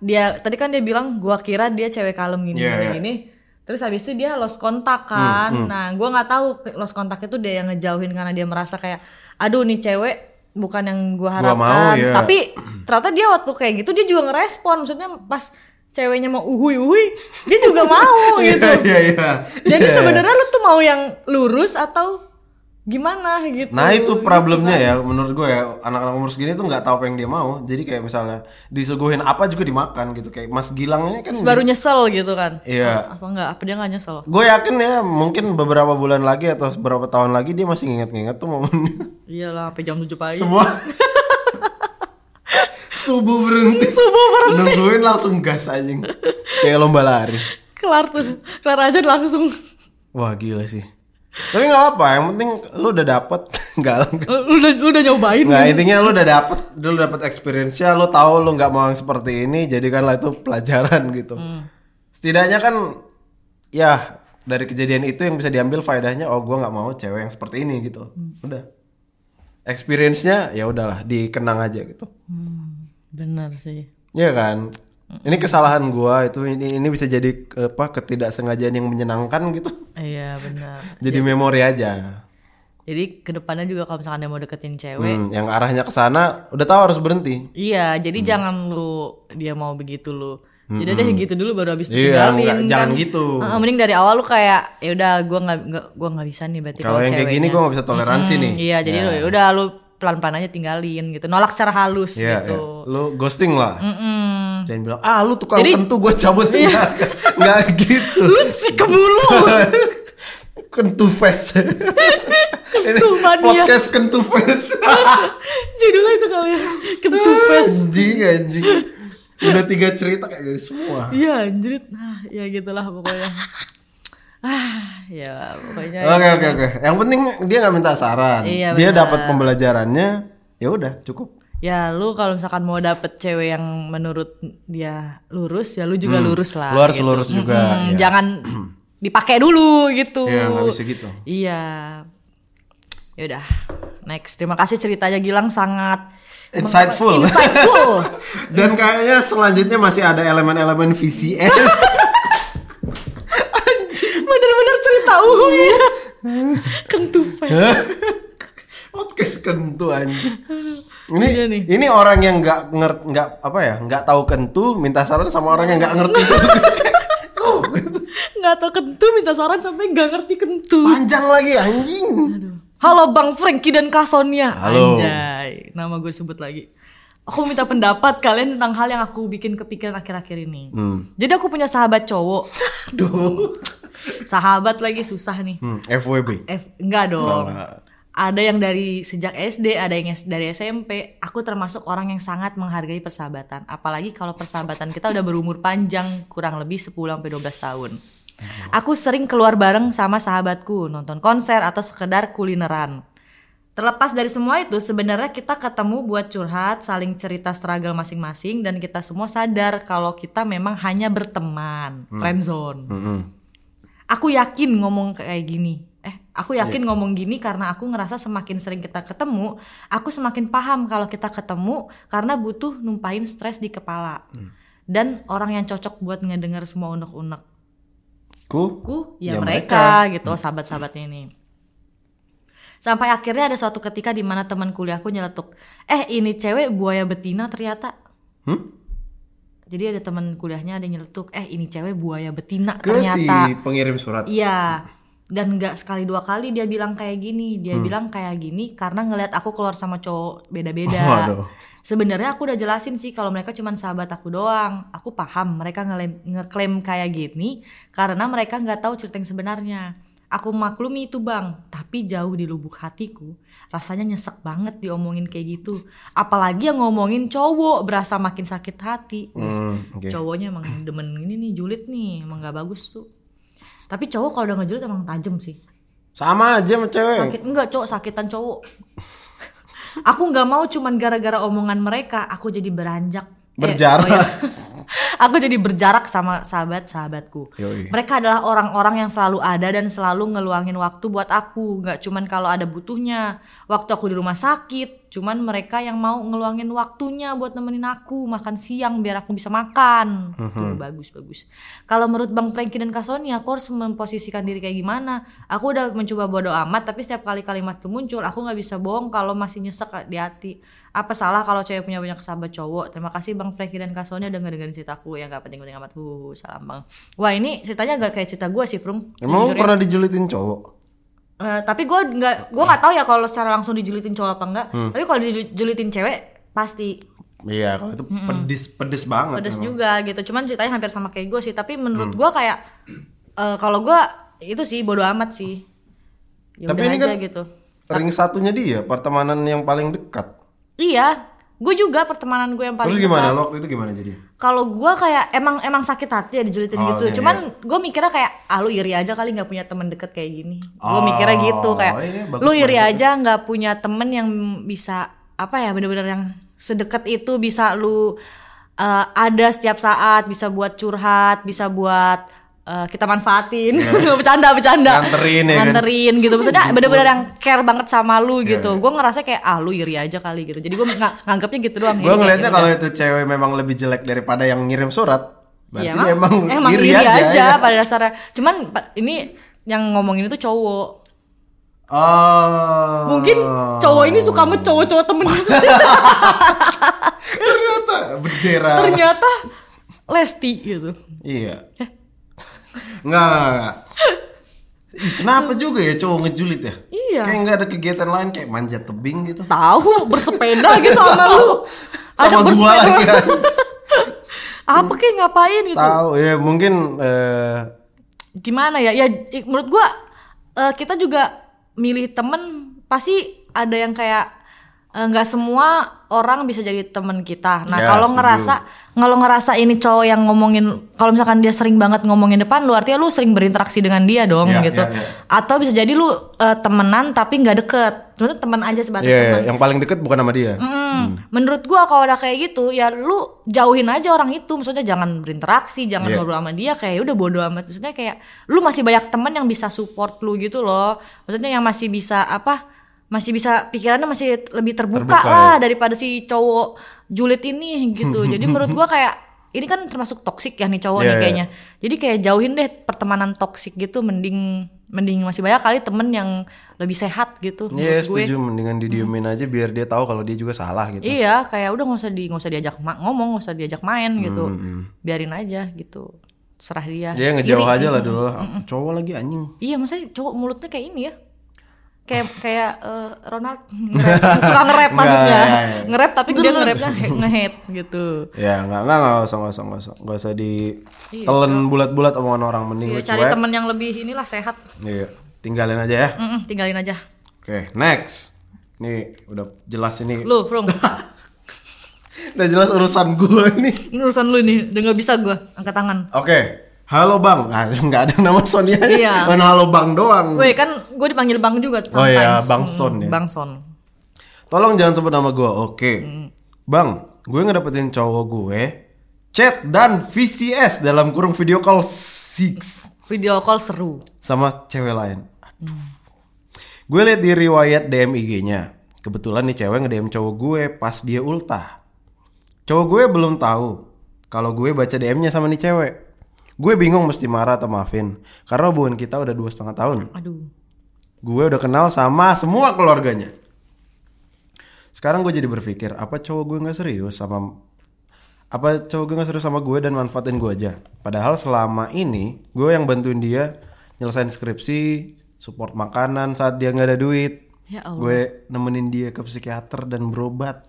[SPEAKER 2] dia tadi kan dia bilang gua kira dia cewek kalem gini
[SPEAKER 1] Iya, iya.
[SPEAKER 2] gini,
[SPEAKER 1] Hmm,
[SPEAKER 2] gini. Terus habis itu dia lost kontak kan. Nah, gua nggak tahu lost kontak itu dia yang ngejauhin karena dia merasa kayak aduh nih cewek bukan yang
[SPEAKER 1] Gua
[SPEAKER 2] gua harapkan.
[SPEAKER 1] mau, iya.
[SPEAKER 2] Tapi ternyata dia waktu kayak gitu dia juga ngerespon. Maksudnya pas ceweknya mau uhui-uhui, dia juga mau gitu.
[SPEAKER 1] Iya iya.
[SPEAKER 2] Jadi
[SPEAKER 1] Iya.
[SPEAKER 2] sebenarnya lu tuh mau yang lurus atau gimana gitu.
[SPEAKER 1] Nah itu problemnya ya menurut gue ya anak-anak umur segini tuh nggak tahu apa yang dia mau. Jadi kayak misalnya disuguhin apa juga dimakan gitu kayak Mas Gilangnya kan.
[SPEAKER 2] Terus baru nyesel gitu kan.
[SPEAKER 1] Iya.
[SPEAKER 2] Apa enggak? Apa dia nggak nyesel?
[SPEAKER 1] Gue yakin ya mungkin beberapa bulan lagi atau beberapa tahun lagi dia masih nginget-nginget tuh momennya.
[SPEAKER 2] Iyalah sampai jam 7 pagi.
[SPEAKER 1] Semua subuh berhenti.
[SPEAKER 2] Subuh baru
[SPEAKER 1] Nungguin langsung gas aja kayak lomba lari.
[SPEAKER 2] kelar tuh. Kelar aja langsung.
[SPEAKER 1] Wah gila sih. Tapi nggak apa, yang penting lu udah dapet nggak
[SPEAKER 2] Lu udah lu udah nyobain.
[SPEAKER 1] Nggak intinya lu udah dapet, lu udah dapet experience-nya, lu tahu lu nggak mau yang seperti ini, jadikanlah itu pelajaran gitu. Setidaknya kan, ya dari kejadian itu yang bisa diambil faedahnya, oh gua nggak mau cewek yang seperti ini gitu. Udah, experience-nya ya udahlah dikenang aja gitu.
[SPEAKER 2] Bener sih.
[SPEAKER 1] Iya kan? Ini kesalahan gua itu ini ini bisa jadi eh, apa ketidaksengajaan yang menyenangkan gitu.
[SPEAKER 2] Iya benar.
[SPEAKER 1] Jadi memori aja.
[SPEAKER 2] Jadi kedepannya juga kalau misalkan dia mau deketin cewek,
[SPEAKER 1] Hmm, yang arahnya ke sana udah tahu harus berhenti.
[SPEAKER 2] iya. Jadi
[SPEAKER 1] Hmm.
[SPEAKER 2] jangan lu dia mau begitu lu. Jadi deh gitu dulu baru habis itu
[SPEAKER 1] Iya,
[SPEAKER 2] tinggalin,
[SPEAKER 1] nggak- jangan
[SPEAKER 2] kan.
[SPEAKER 1] gitu.
[SPEAKER 2] Heeh, mending dari awal lu kayak ya udah gua nggak nggak- gua nggak bisa nih berarti
[SPEAKER 1] Kalau yang kayak gitu gini gua nggak bisa toleransi nih.
[SPEAKER 2] Iya, jadi lu ya udah lu pelan-pelan aja tinggalin gitu. Nolak secara halus
[SPEAKER 1] Iya,
[SPEAKER 2] gitu.
[SPEAKER 1] iya. lu ghosting lah.
[SPEAKER 2] Mm-mm.
[SPEAKER 1] Dan bilang, ah lu tukang
[SPEAKER 2] Jadi- Iya.
[SPEAKER 1] kentu gue cabut. Nggak- Nggak gitu.
[SPEAKER 2] Lu si kebulu.
[SPEAKER 1] kentu fest. Ini
[SPEAKER 2] Kentu mania.
[SPEAKER 1] podcast kentu fest.
[SPEAKER 2] Judulnya itu kali ya. Ketupes.
[SPEAKER 1] anjing, anjing. Udah tiga cerita kayak gini semua.
[SPEAKER 2] Iya, anjrit. Nah, ya gitulah pokoknya. ah, ya pokoknya.
[SPEAKER 1] Oke oke oke. Yang penting dia nggak minta saran.
[SPEAKER 2] Iya,
[SPEAKER 1] dia
[SPEAKER 2] benar.
[SPEAKER 1] dapat pembelajarannya. Ya udah cukup.
[SPEAKER 2] Ya lu kalau misalkan mau dapet cewek yang menurut dia lurus, ya lu juga lurus lah.
[SPEAKER 1] Hmm, Lu harus
[SPEAKER 2] gitu.
[SPEAKER 1] lurus juga,
[SPEAKER 2] Mm-mm,
[SPEAKER 1] iya.
[SPEAKER 2] Jangan dipakai dulu gitu. Ya
[SPEAKER 1] Iya, nggak bisa gitu.
[SPEAKER 2] Iya. Yaudah, next. Terima kasih ceritanya Gilang sangat
[SPEAKER 1] Insightful.
[SPEAKER 2] Insightful.
[SPEAKER 1] Dan kayaknya selanjutnya masih ada elemen-elemen VCS.
[SPEAKER 2] Bener-bener cerita uhu ya. Kentu face.
[SPEAKER 1] Podcast kentu anjing.
[SPEAKER 2] Iya nih.
[SPEAKER 1] Ini ini orang yang nggak ngerti nggak apa ya nggak tahu kentu minta saran sama orang yang nggak ngerti. Oh,
[SPEAKER 2] Nggak tau kentu minta saran sampai nggak ngerti kentu.
[SPEAKER 1] Panjang lagi anjing.
[SPEAKER 2] Halo Bang Frankie dan Kak Sonia.
[SPEAKER 1] Halo.
[SPEAKER 2] Anjay, nama gue disebut lagi. Aku minta pendapat kalian tentang hal yang aku bikin kepikiran akhir-akhir ini. Jadi aku punya sahabat cowok.
[SPEAKER 1] Hmm. Aduh.
[SPEAKER 2] sahabat lagi susah nih.
[SPEAKER 1] Hmm, FWB.
[SPEAKER 2] Eh, enggak dong.
[SPEAKER 1] Enggak.
[SPEAKER 2] Ada yang dari sejak SD, ada yang es- dari SMP. Aku termasuk orang yang sangat menghargai persahabatan. Apalagi kalau persahabatan kita udah berumur panjang, kurang lebih 10 sampai 12 tahun. Aku sering keluar bareng sama sahabatku, nonton konser atau sekedar kulineran. Terlepas dari semua itu, sebenarnya kita ketemu buat curhat, saling cerita struggle masing-masing dan kita semua sadar kalau kita memang hanya berteman,
[SPEAKER 1] Hmm.
[SPEAKER 2] friendzone aku yakin ngomong kayak gini eh aku
[SPEAKER 1] Iya.
[SPEAKER 2] yakin ngomong gini karena aku ngerasa semakin sering kita ketemu aku semakin paham kalau kita ketemu karena butuh numpain stres di kepala
[SPEAKER 1] Hmm.
[SPEAKER 2] dan orang yang cocok buat ngedengar semua unek-unekku
[SPEAKER 1] Ku. Ya
[SPEAKER 2] ya, mereka, gitu oh, sahabat-sahabatnya ini sampai akhirnya ada suatu ketika di mana teman kuliahku nyeletuk eh ini cewek buaya betina ternyata
[SPEAKER 1] Hmm?
[SPEAKER 2] jadi ada teman kuliahnya ada yang nyeletuk eh ini cewek buaya betina
[SPEAKER 1] Ke si
[SPEAKER 2] ternyata
[SPEAKER 1] pengirim surat.
[SPEAKER 2] Iya. Dan nggak sekali dua kali dia bilang kayak gini,
[SPEAKER 1] Hmm.
[SPEAKER 2] dia bilang kayak gini karena ngelihat aku keluar sama cowok beda-beda.
[SPEAKER 1] Waduh.
[SPEAKER 2] Sebenarnya aku udah jelasin sih kalau mereka cuman sahabat aku doang. Aku paham mereka ngelem- ngeklaim kayak gini karena mereka nggak tahu cerita yang sebenarnya. Aku maklumi itu bang, tapi jauh di lubuk hatiku rasanya nyesek banget diomongin kayak gitu. Apalagi yang ngomongin cowok berasa makin sakit hati
[SPEAKER 1] Hmm, oke.
[SPEAKER 2] cowoknya emang demen ini nih julid nih emang gak bagus tuh tapi cowok kalau udah ngejulit emang tajem sih
[SPEAKER 1] Sama aja sama cewek.
[SPEAKER 2] sakit enggak cowok sakitan cowok aku nggak mau cuman gara-gara omongan mereka aku jadi beranjak Eh,
[SPEAKER 1] Berjarak.
[SPEAKER 2] oh iya. aku jadi berjarak sama sahabat sahabatku
[SPEAKER 1] Yoi.
[SPEAKER 2] mereka adalah orang-orang yang selalu ada dan selalu ngeluangin waktu buat aku nggak cuman kalau ada butuhnya waktu aku di rumah sakit cuman mereka yang mau ngeluangin waktunya buat nemenin aku makan siang biar aku bisa makan Tuh, bagus bagus kalau menurut bang Frankie dan Kasoni aku harus memposisikan diri kayak gimana aku udah mencoba bodo amat tapi setiap kali kalimat itu muncul aku nggak bisa bohong kalau masih nyesek di hati apa salah kalau cewek punya banyak sahabat cowok terima kasih bang Frankie dan Kasoni udah ngedengerin ceritaku yang gak penting-penting amat Wuh, salam bang wah ini ceritanya gak kayak cerita gue sih Frum
[SPEAKER 1] Emang lu
[SPEAKER 2] Jujur ya.
[SPEAKER 1] pernah dijulitin cowok?
[SPEAKER 2] Eh, tapi gue nggak gue nggak tahu ya kalau secara langsung dijulitin cowok apa enggak
[SPEAKER 1] Hmm.
[SPEAKER 2] tapi kalau dijulitin cewek pasti
[SPEAKER 1] Iya, kalau itu pedis pedis banget.
[SPEAKER 2] pedes
[SPEAKER 1] emang. Hmm.
[SPEAKER 2] juga gitu cuman ceritanya hampir sama kayak gue sih tapi menurut gue kayak eh, kalau gue itu sih bodo amat sih ya
[SPEAKER 1] Tapi
[SPEAKER 2] udah
[SPEAKER 1] ini
[SPEAKER 2] aja
[SPEAKER 1] kan-
[SPEAKER 2] gitu
[SPEAKER 1] Ring satunya dia, pertemanan yang paling dekat.
[SPEAKER 2] iya gue juga pertemanan gue yang paling
[SPEAKER 1] Terus gimana? Lo Waktu itu gimana jadi?
[SPEAKER 2] kalau gua kayak emang emang sakit hati ya dijulitin
[SPEAKER 1] Oh,
[SPEAKER 2] gitu.
[SPEAKER 1] iya,
[SPEAKER 2] Cuman gua mikirnya kayak ah lu iri aja kali nggak punya temen deket kayak gini. Gua mikirnya
[SPEAKER 1] Oh,
[SPEAKER 2] gitu kayak
[SPEAKER 1] iya, bagus
[SPEAKER 2] lu iri
[SPEAKER 1] banget.
[SPEAKER 2] aja nggak punya temen yang bisa apa ya bener-bener yang sedekat itu bisa lu eh, ada setiap saat bisa buat curhat, bisa buat eh, kita manfaatin bercanda bercanda
[SPEAKER 1] Iya. Nganterin ya kan?
[SPEAKER 2] Nganterin gitu maksudnya bener-bener yang care banget sama lu
[SPEAKER 1] Iya,
[SPEAKER 2] gitu Gua ngerasa kayak ah lu iri aja kali gitu jadi gue nganggapnya gitu doang
[SPEAKER 1] Gue
[SPEAKER 2] Jadi kayak
[SPEAKER 1] ngelihatnya
[SPEAKER 2] ya
[SPEAKER 1] kalau itu cewek memang lebih jelek daripada yang ngirim surat, berarti
[SPEAKER 2] Iya,
[SPEAKER 1] dia emang, iri,
[SPEAKER 2] iri,
[SPEAKER 1] ya.
[SPEAKER 2] aja, pada dasarnya. Cuman pa- ini yang ngomongin itu cowok.
[SPEAKER 1] Oh.
[SPEAKER 2] Mungkin cowok ini suka sama cowok-cowok temennya.
[SPEAKER 1] ternyata bendera.
[SPEAKER 2] Ternyata Lesti gitu.
[SPEAKER 1] Iya. Enggak, enggak, enggak. Ih, Kenapa juga ya cowok ngejulit ya?
[SPEAKER 2] Iya.
[SPEAKER 1] Kayak nggak ada kegiatan lain kayak manjat tebing gitu.
[SPEAKER 2] Tahu bersepeda gitu sama lu. Ajak
[SPEAKER 1] Sama gua lagi.
[SPEAKER 2] bersepeda.
[SPEAKER 1] kan.
[SPEAKER 2] Apa kayak ngapain gitu.
[SPEAKER 1] Tahu ya mungkin eh,
[SPEAKER 2] Gimana ya? Ya i- menurut gua eh, kita juga milih temen pasti ada yang kayak eh, nggak semua orang bisa jadi temen kita. Nah,
[SPEAKER 1] Ya,
[SPEAKER 2] kalau
[SPEAKER 1] setuju.
[SPEAKER 2] ngerasa kalau ngerasa ini cowok yang ngomongin kalau misalkan dia sering banget ngomongin depan lu artinya lu sering berinteraksi dengan dia dong
[SPEAKER 1] Iya,
[SPEAKER 2] gitu
[SPEAKER 1] iya, iya.
[SPEAKER 2] atau bisa jadi lu eh, temenan tapi nggak deket sebenarnya teman aja sebatas
[SPEAKER 1] ya,
[SPEAKER 2] teman
[SPEAKER 1] yang paling deket bukan sama dia.
[SPEAKER 2] Mm. menurut gua kalau udah kayak gitu ya lu jauhin aja orang itu maksudnya jangan berinteraksi jangan
[SPEAKER 1] Iya.
[SPEAKER 2] ngobrol sama dia kayak ya udah bodo amat maksudnya kayak lu masih banyak teman yang bisa support lu gitu loh maksudnya yang masih bisa apa masih bisa pikirannya masih lebih terbuka,
[SPEAKER 1] Terbuka,
[SPEAKER 2] lah daripada si cowok julid ini gitu. Jadi menurut gua kayak ini kan termasuk toksik ya nih
[SPEAKER 1] Iya,
[SPEAKER 2] cowok nih
[SPEAKER 1] iya.
[SPEAKER 2] kayaknya. Jadi kayak jauhin deh pertemanan toksik gitu mending mending masih banyak kali temen yang lebih sehat
[SPEAKER 1] Iya
[SPEAKER 2] gitu menurut gue. Mm.
[SPEAKER 1] setuju mendingan didiemin aja biar dia tahu kalau dia juga salah gitu.
[SPEAKER 2] Iya, kayak udah nggak usah di nggak usah diajak ma- ngomong, nggak usah diajak main gitu.
[SPEAKER 1] Hmm,
[SPEAKER 2] Biarin aja gitu. Serah dia.
[SPEAKER 1] Dia
[SPEAKER 2] Iri
[SPEAKER 1] Iya, ngejauh
[SPEAKER 2] sih.
[SPEAKER 1] aja lah dulu lah. Cowok lagi anjing.
[SPEAKER 2] Iya, masa cowok mulutnya kayak ini ya? Kayak kayak eh, Ronald nge-rap. suka nge-rap maksudnya.
[SPEAKER 1] Nggak, ya, ya.
[SPEAKER 2] Nge-rap tapi dia nge-rapnya he- nge-hate gitu.
[SPEAKER 1] Ya nggak nggak nggak usah nggak usah nggak usah nggak usah ditelen bulat-bulat omongan orang mending
[SPEAKER 2] Iya,
[SPEAKER 1] lu
[SPEAKER 2] cari
[SPEAKER 1] cuek.
[SPEAKER 2] temen yang lebih inilah sehat.
[SPEAKER 1] Iya, tinggalin aja ya.
[SPEAKER 2] Mm-mm, tinggalin aja.
[SPEAKER 1] Oke next. Nih udah jelas ini.
[SPEAKER 2] Lu, Frung.
[SPEAKER 1] Udah jelas urusan gue nih.
[SPEAKER 2] ini urusan lu nih, udah nggak bisa gua angkat tangan.
[SPEAKER 1] Oke. Halo bang, nah, nggak ada nama Sonia ya.
[SPEAKER 2] Iya.
[SPEAKER 1] Mana halo bang doang.
[SPEAKER 2] Weh, kan gue dipanggil Bang juga
[SPEAKER 1] Oh iya,
[SPEAKER 2] sometimes.
[SPEAKER 1] Bang Son ya.
[SPEAKER 2] Hmm, Bang Son.
[SPEAKER 1] Tolong jangan sebut nama gue. Oke.
[SPEAKER 2] Hmm.
[SPEAKER 1] Bang, gue ngedapetin cowok gue chat dan VCS dalam kurung video call 6
[SPEAKER 2] Video call seru.
[SPEAKER 1] sama cewek lain. Aduh. Gue liat di riwayat DM IG-nya. Kebetulan nih cewek nge-DM cowok gue pas dia ultah. Cowok gue belum tahu kalau gue baca DM-nya sama nih cewek. Gue bingung mesti marah atau maafin karena hubungan kita udah dua setengah tahun.
[SPEAKER 2] Aduh.
[SPEAKER 1] Gue udah kenal sama semua keluarganya. Sekarang gue jadi berpikir, apa cowok gue nggak serius sama apa cowok gue nggak serius sama gue dan manfaatin gue aja. Padahal selama ini gue yang bantuin dia nyelesain skripsi, support makanan saat dia nggak ada duit.
[SPEAKER 2] Ya Allah.
[SPEAKER 1] Gue nemenin dia ke psikiater dan berobat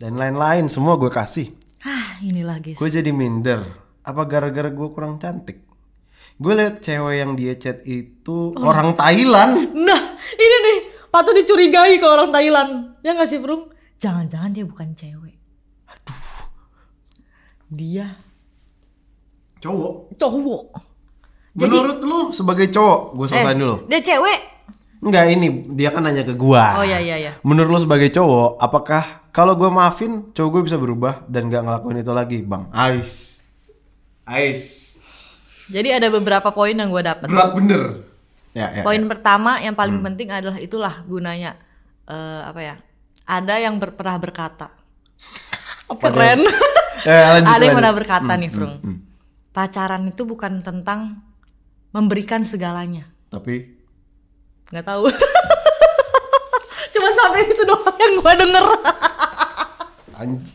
[SPEAKER 1] dan lain-lain semua gue kasih.
[SPEAKER 2] Hah, Ah, inilah guys.
[SPEAKER 1] Gue jadi minder. Apa gara-gara gue kurang cantik? Gue liat cewek yang dia chat itu orang Thailand.
[SPEAKER 2] Nah, ini nih patut dicurigai kalau orang Thailand. Ya nggak sih, Bro? Jangan-jangan dia bukan cewek. Aduh. Dia
[SPEAKER 1] Cowok.
[SPEAKER 2] cowok.
[SPEAKER 1] Menurut lu sebagai cowok, gue
[SPEAKER 2] Eh.
[SPEAKER 1] selesain dulu.
[SPEAKER 2] Dia cewek.
[SPEAKER 1] Enggak ini dia kan nanya ke gua.
[SPEAKER 2] Oh iya iya iya.
[SPEAKER 1] Menurut lu sebagai cowok, apakah kalau gue maafin cowok gue bisa berubah dan gak ngelakuin itu lagi, bang? Ais, ais,
[SPEAKER 2] Jadi ada beberapa poin yang gue dapet.
[SPEAKER 1] berat bener. Ya, ya,
[SPEAKER 2] Poin pertama yang
[SPEAKER 1] Hmm.
[SPEAKER 2] paling penting adalah itulah gunanya eh, apa ya? Ada yang ber- pernah berkata. Keren.
[SPEAKER 1] ya. Eh, lanjut,
[SPEAKER 2] ada yang
[SPEAKER 1] lanjut. Hmm,
[SPEAKER 2] pernah berkata nih, Frung. Pacaran itu bukan tentang memberikan segalanya.
[SPEAKER 1] Tapi
[SPEAKER 2] nggak tahu cuman sampai situ doang yang gua denger
[SPEAKER 1] anj-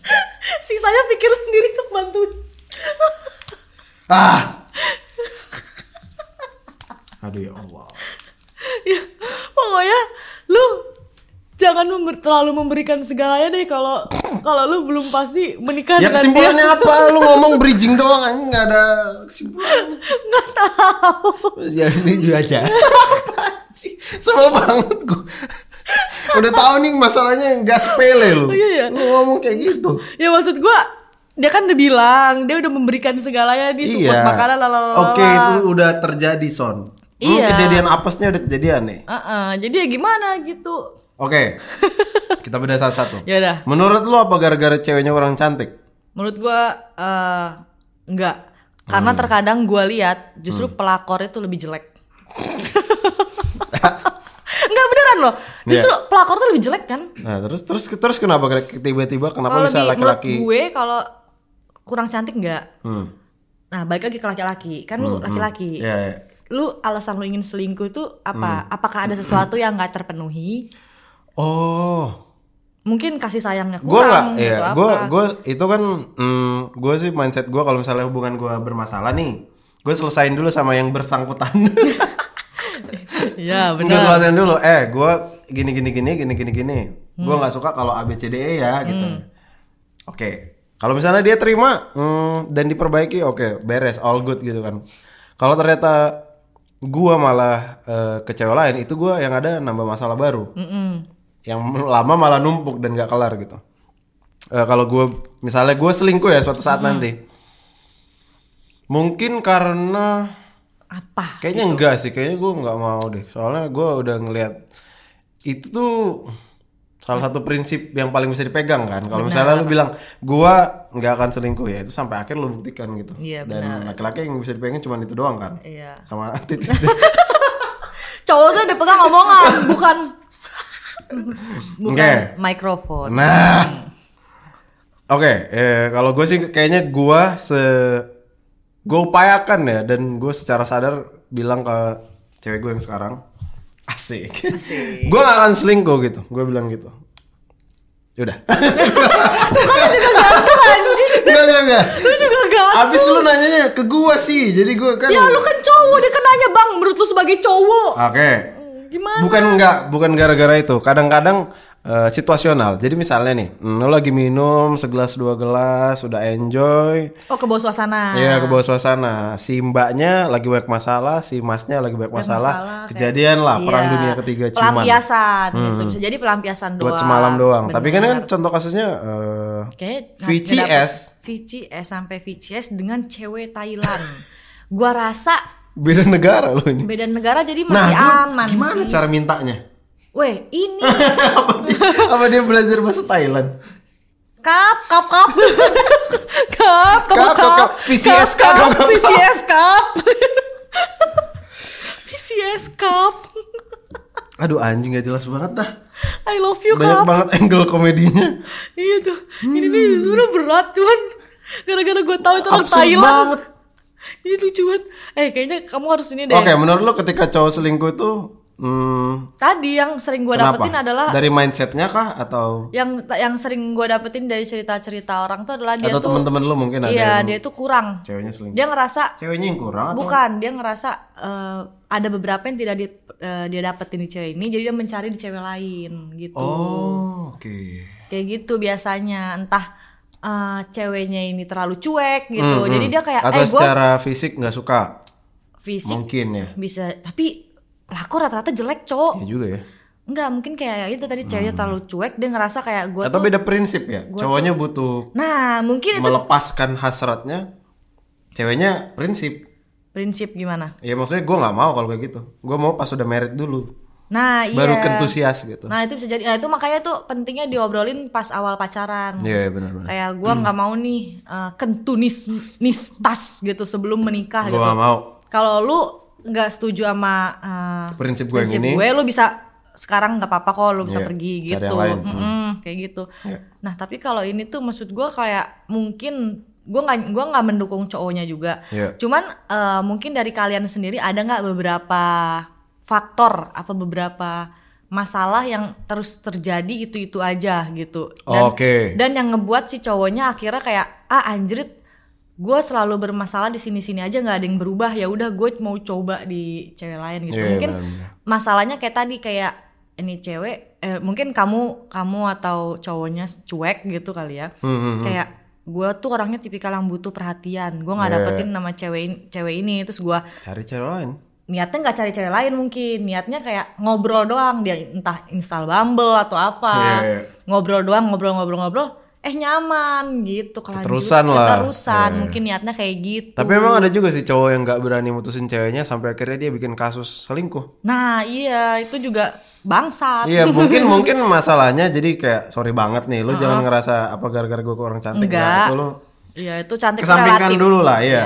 [SPEAKER 2] sisanya pikir sendiri kebantu
[SPEAKER 1] ah. Aduh ya Allah.
[SPEAKER 2] ya, pokoknya lu jangan member- terlalu memberikan segalanya deh kalau kalau lu belum pasti menikah
[SPEAKER 1] Ya
[SPEAKER 2] dengan
[SPEAKER 1] kesimpulannya
[SPEAKER 2] dia.
[SPEAKER 1] apa? Lu ngomong bridging doang anjing nggak ada kesimpulan. Enggak tahu. Ya ini juga aja. Apaan sih? Sebel banget gue. Udah tahu nih masalahnya nggak sepele lu.
[SPEAKER 2] Iya, iya.
[SPEAKER 1] Lu ngomong kayak gitu.
[SPEAKER 2] ya maksud gua dia kan udah bilang dia udah memberikan segalanya dia support makanan lalalala
[SPEAKER 1] Iya. Oke, itu udah terjadi, Son. Lu
[SPEAKER 2] Iya.
[SPEAKER 1] kejadian apesnya udah kejadian nih.
[SPEAKER 2] Heeh, jadi ya gimana gitu
[SPEAKER 1] Oke. Kita beda satu-satu.
[SPEAKER 2] ya udah
[SPEAKER 1] Menurut lu apa gara-gara ceweknya orang cantik?
[SPEAKER 2] Menurut gua eh, enggak karena
[SPEAKER 1] Oh, iya.
[SPEAKER 2] terkadang gua lihat justru
[SPEAKER 1] Hmm.
[SPEAKER 2] pelakor itu lebih jelek. enggak beneran loh. Justru
[SPEAKER 1] Iya.
[SPEAKER 2] pelakor tuh lebih jelek kan?
[SPEAKER 1] Nah, terus terus terus kenapa tiba-tiba kenapa
[SPEAKER 2] Kalau
[SPEAKER 1] bisa
[SPEAKER 2] di- menurut
[SPEAKER 1] laki-laki?
[SPEAKER 2] gue kalau kurang cantik enggak.
[SPEAKER 1] Hmm.
[SPEAKER 2] Nah, balik lagi ke laki-laki. Kan lu laki-laki.
[SPEAKER 1] Iya, Hmm. iya.
[SPEAKER 2] Lu alasan lu ingin selingkuh tuh apa? Apakah ada sesuatu yang nggak terpenuhi?
[SPEAKER 1] Oh,
[SPEAKER 2] Mungkin kasih sayangnya
[SPEAKER 1] gue nggak
[SPEAKER 2] kurang
[SPEAKER 1] ya
[SPEAKER 2] gitu
[SPEAKER 1] gue
[SPEAKER 2] apa?
[SPEAKER 1] gue itu kan mm, gue sih mindset gue kalau misalnya hubungan gue bermasalah nih gue selesain dulu sama yang bersangkutan
[SPEAKER 2] Iya,
[SPEAKER 1] gue
[SPEAKER 2] benar.
[SPEAKER 1] selesain dulu eh gue gini gini gini gini gini gini
[SPEAKER 2] Hmm.
[SPEAKER 1] gue nggak suka kalau abcde ya gitu oke kalau misalnya dia terima mm, dan diperbaiki oke beres all good gitu kan kalau ternyata gue malah eh, kecewa lain itu gue yang ada nambah masalah baru
[SPEAKER 2] Mm-mm.
[SPEAKER 1] yang lama malah numpuk dan gak kelar gitu. Eh, kalau gue misalnya gue selingkuh ya suatu saat nanti, mungkin karena
[SPEAKER 2] Apa?
[SPEAKER 1] kayaknya enggak sih, kayaknya gue nggak mau deh. Soalnya gue udah ngelihat itu tuh salah satu prinsip yang paling bisa dipegang kan. Kalau misalnya lu bilang gue nggak akan selingkuh ya itu sampai akhir lu buktikan gitu.
[SPEAKER 2] Iya,
[SPEAKER 1] dan laki-laki yang bisa dipegang cuma itu doang kan.
[SPEAKER 2] Iya.
[SPEAKER 1] Sama
[SPEAKER 2] cowok tuh ada pegang omongan bukan bukan
[SPEAKER 1] Oke.
[SPEAKER 2] mikrofon.
[SPEAKER 1] Nah. Oke, eh, kalau gue sih kayaknya gue se gue upayakan ya dan gue secara sadar bilang ke cewek gue yang sekarang asik.
[SPEAKER 2] Asik.
[SPEAKER 1] gue gak akan selingkuh gitu. Gue bilang gitu. Yaudah.
[SPEAKER 2] Ganteng anjing,
[SPEAKER 1] Enggak enggak enggak.
[SPEAKER 2] lu juga ganteng.
[SPEAKER 1] Abis lu nanyanya ke gue sih. Jadi gue kan
[SPEAKER 2] Ya lu kan cowok, dia kan nanya bang, menurut lu sebagai cowok.
[SPEAKER 1] Oke.
[SPEAKER 2] Gimana?
[SPEAKER 1] Bukan enggak, bukan gara-gara itu. Kadang-kadang eh, situasional. Jadi misalnya nih, hmm, lu lagi minum segelas dua gelas, udah enjoy,
[SPEAKER 2] Oh ke bawah suasana.
[SPEAKER 1] Iya ke bawah suasana. Si mbaknya lagi banyak masalah, si masnya lagi banyak masalah.
[SPEAKER 2] masalah,
[SPEAKER 1] Kejadian lah perang
[SPEAKER 2] Iya.
[SPEAKER 1] dunia ketiga ciuman. Hmm.
[SPEAKER 2] Pelampiasan, gitu. Bisa jadi pelampiasan doang.
[SPEAKER 1] Buat semalam doang. Tapi kan
[SPEAKER 2] Bener.
[SPEAKER 1] kan contoh kasusnya eh,
[SPEAKER 2] Kayaknya nggak- nggak dapet.
[SPEAKER 1] VCS
[SPEAKER 2] VCS sampai VCS dengan cewek Thailand. Gua rasa
[SPEAKER 1] beda negara loh ini.
[SPEAKER 2] beda negara jadi
[SPEAKER 1] Nah,
[SPEAKER 2] masih
[SPEAKER 1] lu
[SPEAKER 2] aman
[SPEAKER 1] gimana
[SPEAKER 2] sih.
[SPEAKER 1] cara mintanya?
[SPEAKER 2] Weh, ini
[SPEAKER 1] apa, dia, apa dia belajar bahasa Thailand?
[SPEAKER 2] kap kap kap. kap, kamu
[SPEAKER 1] Kap, kap,
[SPEAKER 2] kap.
[SPEAKER 1] kap. VCS,
[SPEAKER 2] Kap,
[SPEAKER 1] kap, kap, kap.
[SPEAKER 2] VCS kap. VCS kap.
[SPEAKER 1] Aduh anjing gak jelas banget dah.
[SPEAKER 2] I love you
[SPEAKER 1] Banyak
[SPEAKER 2] kap.
[SPEAKER 1] banget angle komedinya.
[SPEAKER 2] Iya tuh. Ini nih sebenarnya berat cuman gara-gara gue tahu itu orang
[SPEAKER 1] Absurd
[SPEAKER 2] Thailand.
[SPEAKER 1] banget.
[SPEAKER 2] Ini lucu banget. Eh kayaknya kamu harus ini deh.
[SPEAKER 1] Oke, menurut lo ketika cowok selingkuh itu hmm,
[SPEAKER 2] Tadi yang sering gue
[SPEAKER 1] kenapa?
[SPEAKER 2] dapetin adalah
[SPEAKER 1] Dari mindsetnya kah atau
[SPEAKER 2] yang yang sering gue dapetin dari cerita-cerita orang tuh adalah dia
[SPEAKER 1] atau
[SPEAKER 2] tuh
[SPEAKER 1] teman-teman lo mungkin ada
[SPEAKER 2] iya
[SPEAKER 1] yang
[SPEAKER 2] dia tuh kurang.
[SPEAKER 1] ceweknya selingkuh?
[SPEAKER 2] Dia ngerasa
[SPEAKER 1] Ceweknya yang kurang atau
[SPEAKER 2] bukan dia ngerasa eh, ada beberapa yang tidak di, eh, dia dapetin di cewek ini jadi dia mencari di cewek lain gitu.
[SPEAKER 1] Oh, oke.
[SPEAKER 2] Kayak gitu biasanya entah eh, ceweknya ini terlalu cuek gitu. Jadi dia kayak
[SPEAKER 1] Hmm. Atau
[SPEAKER 2] eh gue
[SPEAKER 1] secara fisik nggak suka,
[SPEAKER 2] fisik
[SPEAKER 1] mungkin ya.
[SPEAKER 2] bisa tapi pelakor rata-rata jelek cowok
[SPEAKER 1] Ya juga ya.
[SPEAKER 2] nggak mungkin kayak ya itu tadi ceweknya terlalu cuek dia ngerasa kayak gue
[SPEAKER 1] Hmm. Atau beda prinsip ya. Cowoknya butuh
[SPEAKER 2] nah mungkin itu
[SPEAKER 1] melepaskan hasratnya. Ceweknya prinsip.
[SPEAKER 2] prinsip gimana
[SPEAKER 1] Ya maksudnya gue nggak mau kalau kayak gitu. Gue mau pas udah merit dulu,
[SPEAKER 2] nah iya
[SPEAKER 1] baru kentusias gitu.
[SPEAKER 2] nah itu bisa jadi nah itu makanya tuh pentingnya diobrolin pas awal pacaran
[SPEAKER 1] Iya benar-benar.
[SPEAKER 2] kayak gue nggak mau nih eh, kentunis nistas gitu sebelum menikah
[SPEAKER 1] Gue
[SPEAKER 2] gitu
[SPEAKER 1] nggak mau.
[SPEAKER 2] kalau lu nggak setuju sama eh,
[SPEAKER 1] Prinsip gue yang
[SPEAKER 2] prinsip
[SPEAKER 1] ini.
[SPEAKER 2] gue lu bisa sekarang nggak apa-apa kok lu bisa
[SPEAKER 1] Iya,
[SPEAKER 2] pergi
[SPEAKER 1] cari
[SPEAKER 2] gitu
[SPEAKER 1] yang lain. Hmm. Iya.
[SPEAKER 2] Mm-mm, kayak gitu nah tapi kalau ini tuh maksud gue kayak mungkin gue nggak gua nggak mendukung cowoknya juga
[SPEAKER 1] Iya.
[SPEAKER 2] cuman eh, mungkin dari kalian sendiri ada nggak beberapa faktor apa beberapa masalah yang terus terjadi itu itu aja gitu dan,
[SPEAKER 1] Oke.
[SPEAKER 2] dan yang ngebuat si cowoknya akhirnya kayak ah anjrit gue selalu bermasalah di sini sini aja nggak ada yang berubah ya udah gue mau coba di cewek lain gitu
[SPEAKER 1] Iya,
[SPEAKER 2] mungkin
[SPEAKER 1] benar-benar.
[SPEAKER 2] masalahnya kayak tadi kayak ini cewek eh, mungkin kamu kamu atau cowoknya cuek gitu kali ya
[SPEAKER 1] Hmm,
[SPEAKER 2] kayak gue tuh orangnya tipikal yang butuh perhatian gue nggak
[SPEAKER 1] Iya.
[SPEAKER 2] dapetin nama cewek ini, cewek ini terus gue
[SPEAKER 1] Cari cewek lain.
[SPEAKER 2] niatnya nggak cari cewek lain mungkin niatnya kayak ngobrol doang dia entah install Bumble atau apa
[SPEAKER 1] Iya.
[SPEAKER 2] ngobrol doang ngobrol-ngobrol-ngobrol eh nyaman gitu kelanjut-
[SPEAKER 1] Keterusan lah.
[SPEAKER 2] keterusan
[SPEAKER 1] Iya.
[SPEAKER 2] mungkin niatnya kayak gitu
[SPEAKER 1] Tapi memang ada juga sih cowok yang nggak berani mutusin ceweknya sampai akhirnya dia bikin kasus selingkuh.
[SPEAKER 2] nah iya itu juga bangsat
[SPEAKER 1] Iya mungkin mungkin masalahnya jadi kayak sorry banget nih, lu jangan ngerasa apa gara-gara gue kurang cantik Nah,
[SPEAKER 2] Enggak.
[SPEAKER 1] itu lu
[SPEAKER 2] Iya, itu cantik
[SPEAKER 1] kesampingkan
[SPEAKER 2] relatif.
[SPEAKER 1] dulu lah, iya.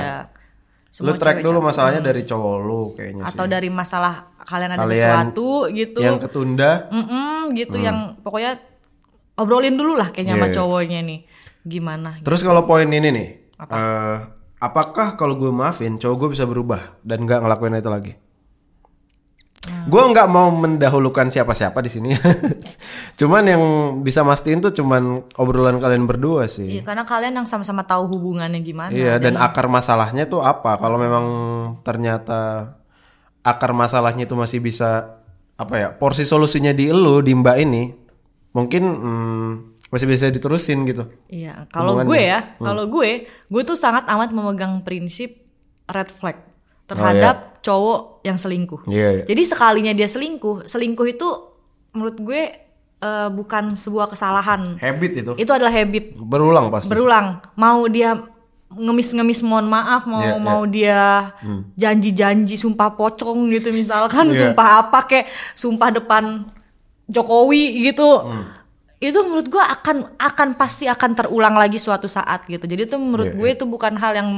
[SPEAKER 2] Semua
[SPEAKER 1] lu track
[SPEAKER 2] cewek Hmm.
[SPEAKER 1] dulu masalahnya dari cowok lu kayaknya
[SPEAKER 2] atau
[SPEAKER 1] sih.
[SPEAKER 2] dari masalah kalian ada
[SPEAKER 1] Kalian
[SPEAKER 2] sesuatu gitu
[SPEAKER 1] Yang ketunda
[SPEAKER 2] Mm-mm, gitu yang pokoknya obrolin dulu lah kayaknya sama
[SPEAKER 1] Iya.
[SPEAKER 2] cowoknya nih gimana
[SPEAKER 1] Terus kalau poin ini nih, eh, apakah kalau gue maafin cowok gue bisa berubah dan nggak ngelakuin itu lagi?
[SPEAKER 2] Hmm.
[SPEAKER 1] Gue nggak mau mendahulukan siapa-siapa di sini. cuman yang bisa mastiin tuh cuman obrolan kalian berdua sih.
[SPEAKER 2] Iya, karena kalian yang sama-sama tahu hubungannya gimana
[SPEAKER 1] Hmm. Iya dan akar masalahnya tuh apa? Kalau memang ternyata akar masalahnya itu masih bisa apa ya? Porsi solusinya di elu di Mbak ini mungkin hmm, masih bisa diterusin gitu.
[SPEAKER 2] Iya, kalau gue ya,
[SPEAKER 1] Hmm.
[SPEAKER 2] kalau gue, gue tuh sangat amat memegang prinsip red flag terhadap cowok yang selingkuh.
[SPEAKER 1] Oh, Iya. iya.
[SPEAKER 2] Jadi sekalinya dia selingkuh, selingkuh itu menurut gue eh, bukan sebuah kesalahan.
[SPEAKER 1] Habit itu
[SPEAKER 2] Itu adalah habit
[SPEAKER 1] berulang pasti.
[SPEAKER 2] berulang. Mau dia ngemis-ngemis mohon maaf, mau
[SPEAKER 1] Iya, iya.
[SPEAKER 2] mau dia janji-janji sumpah pocong gitu misalkan,
[SPEAKER 1] Iya.
[SPEAKER 2] sumpah apa kayak sumpah depan Jokowi gitu.
[SPEAKER 1] Hmm.
[SPEAKER 2] Itu menurut gua akan akan pasti akan terulang lagi suatu saat gitu. Jadi itu menurut
[SPEAKER 1] Iya,
[SPEAKER 2] gue itu bukan hal yang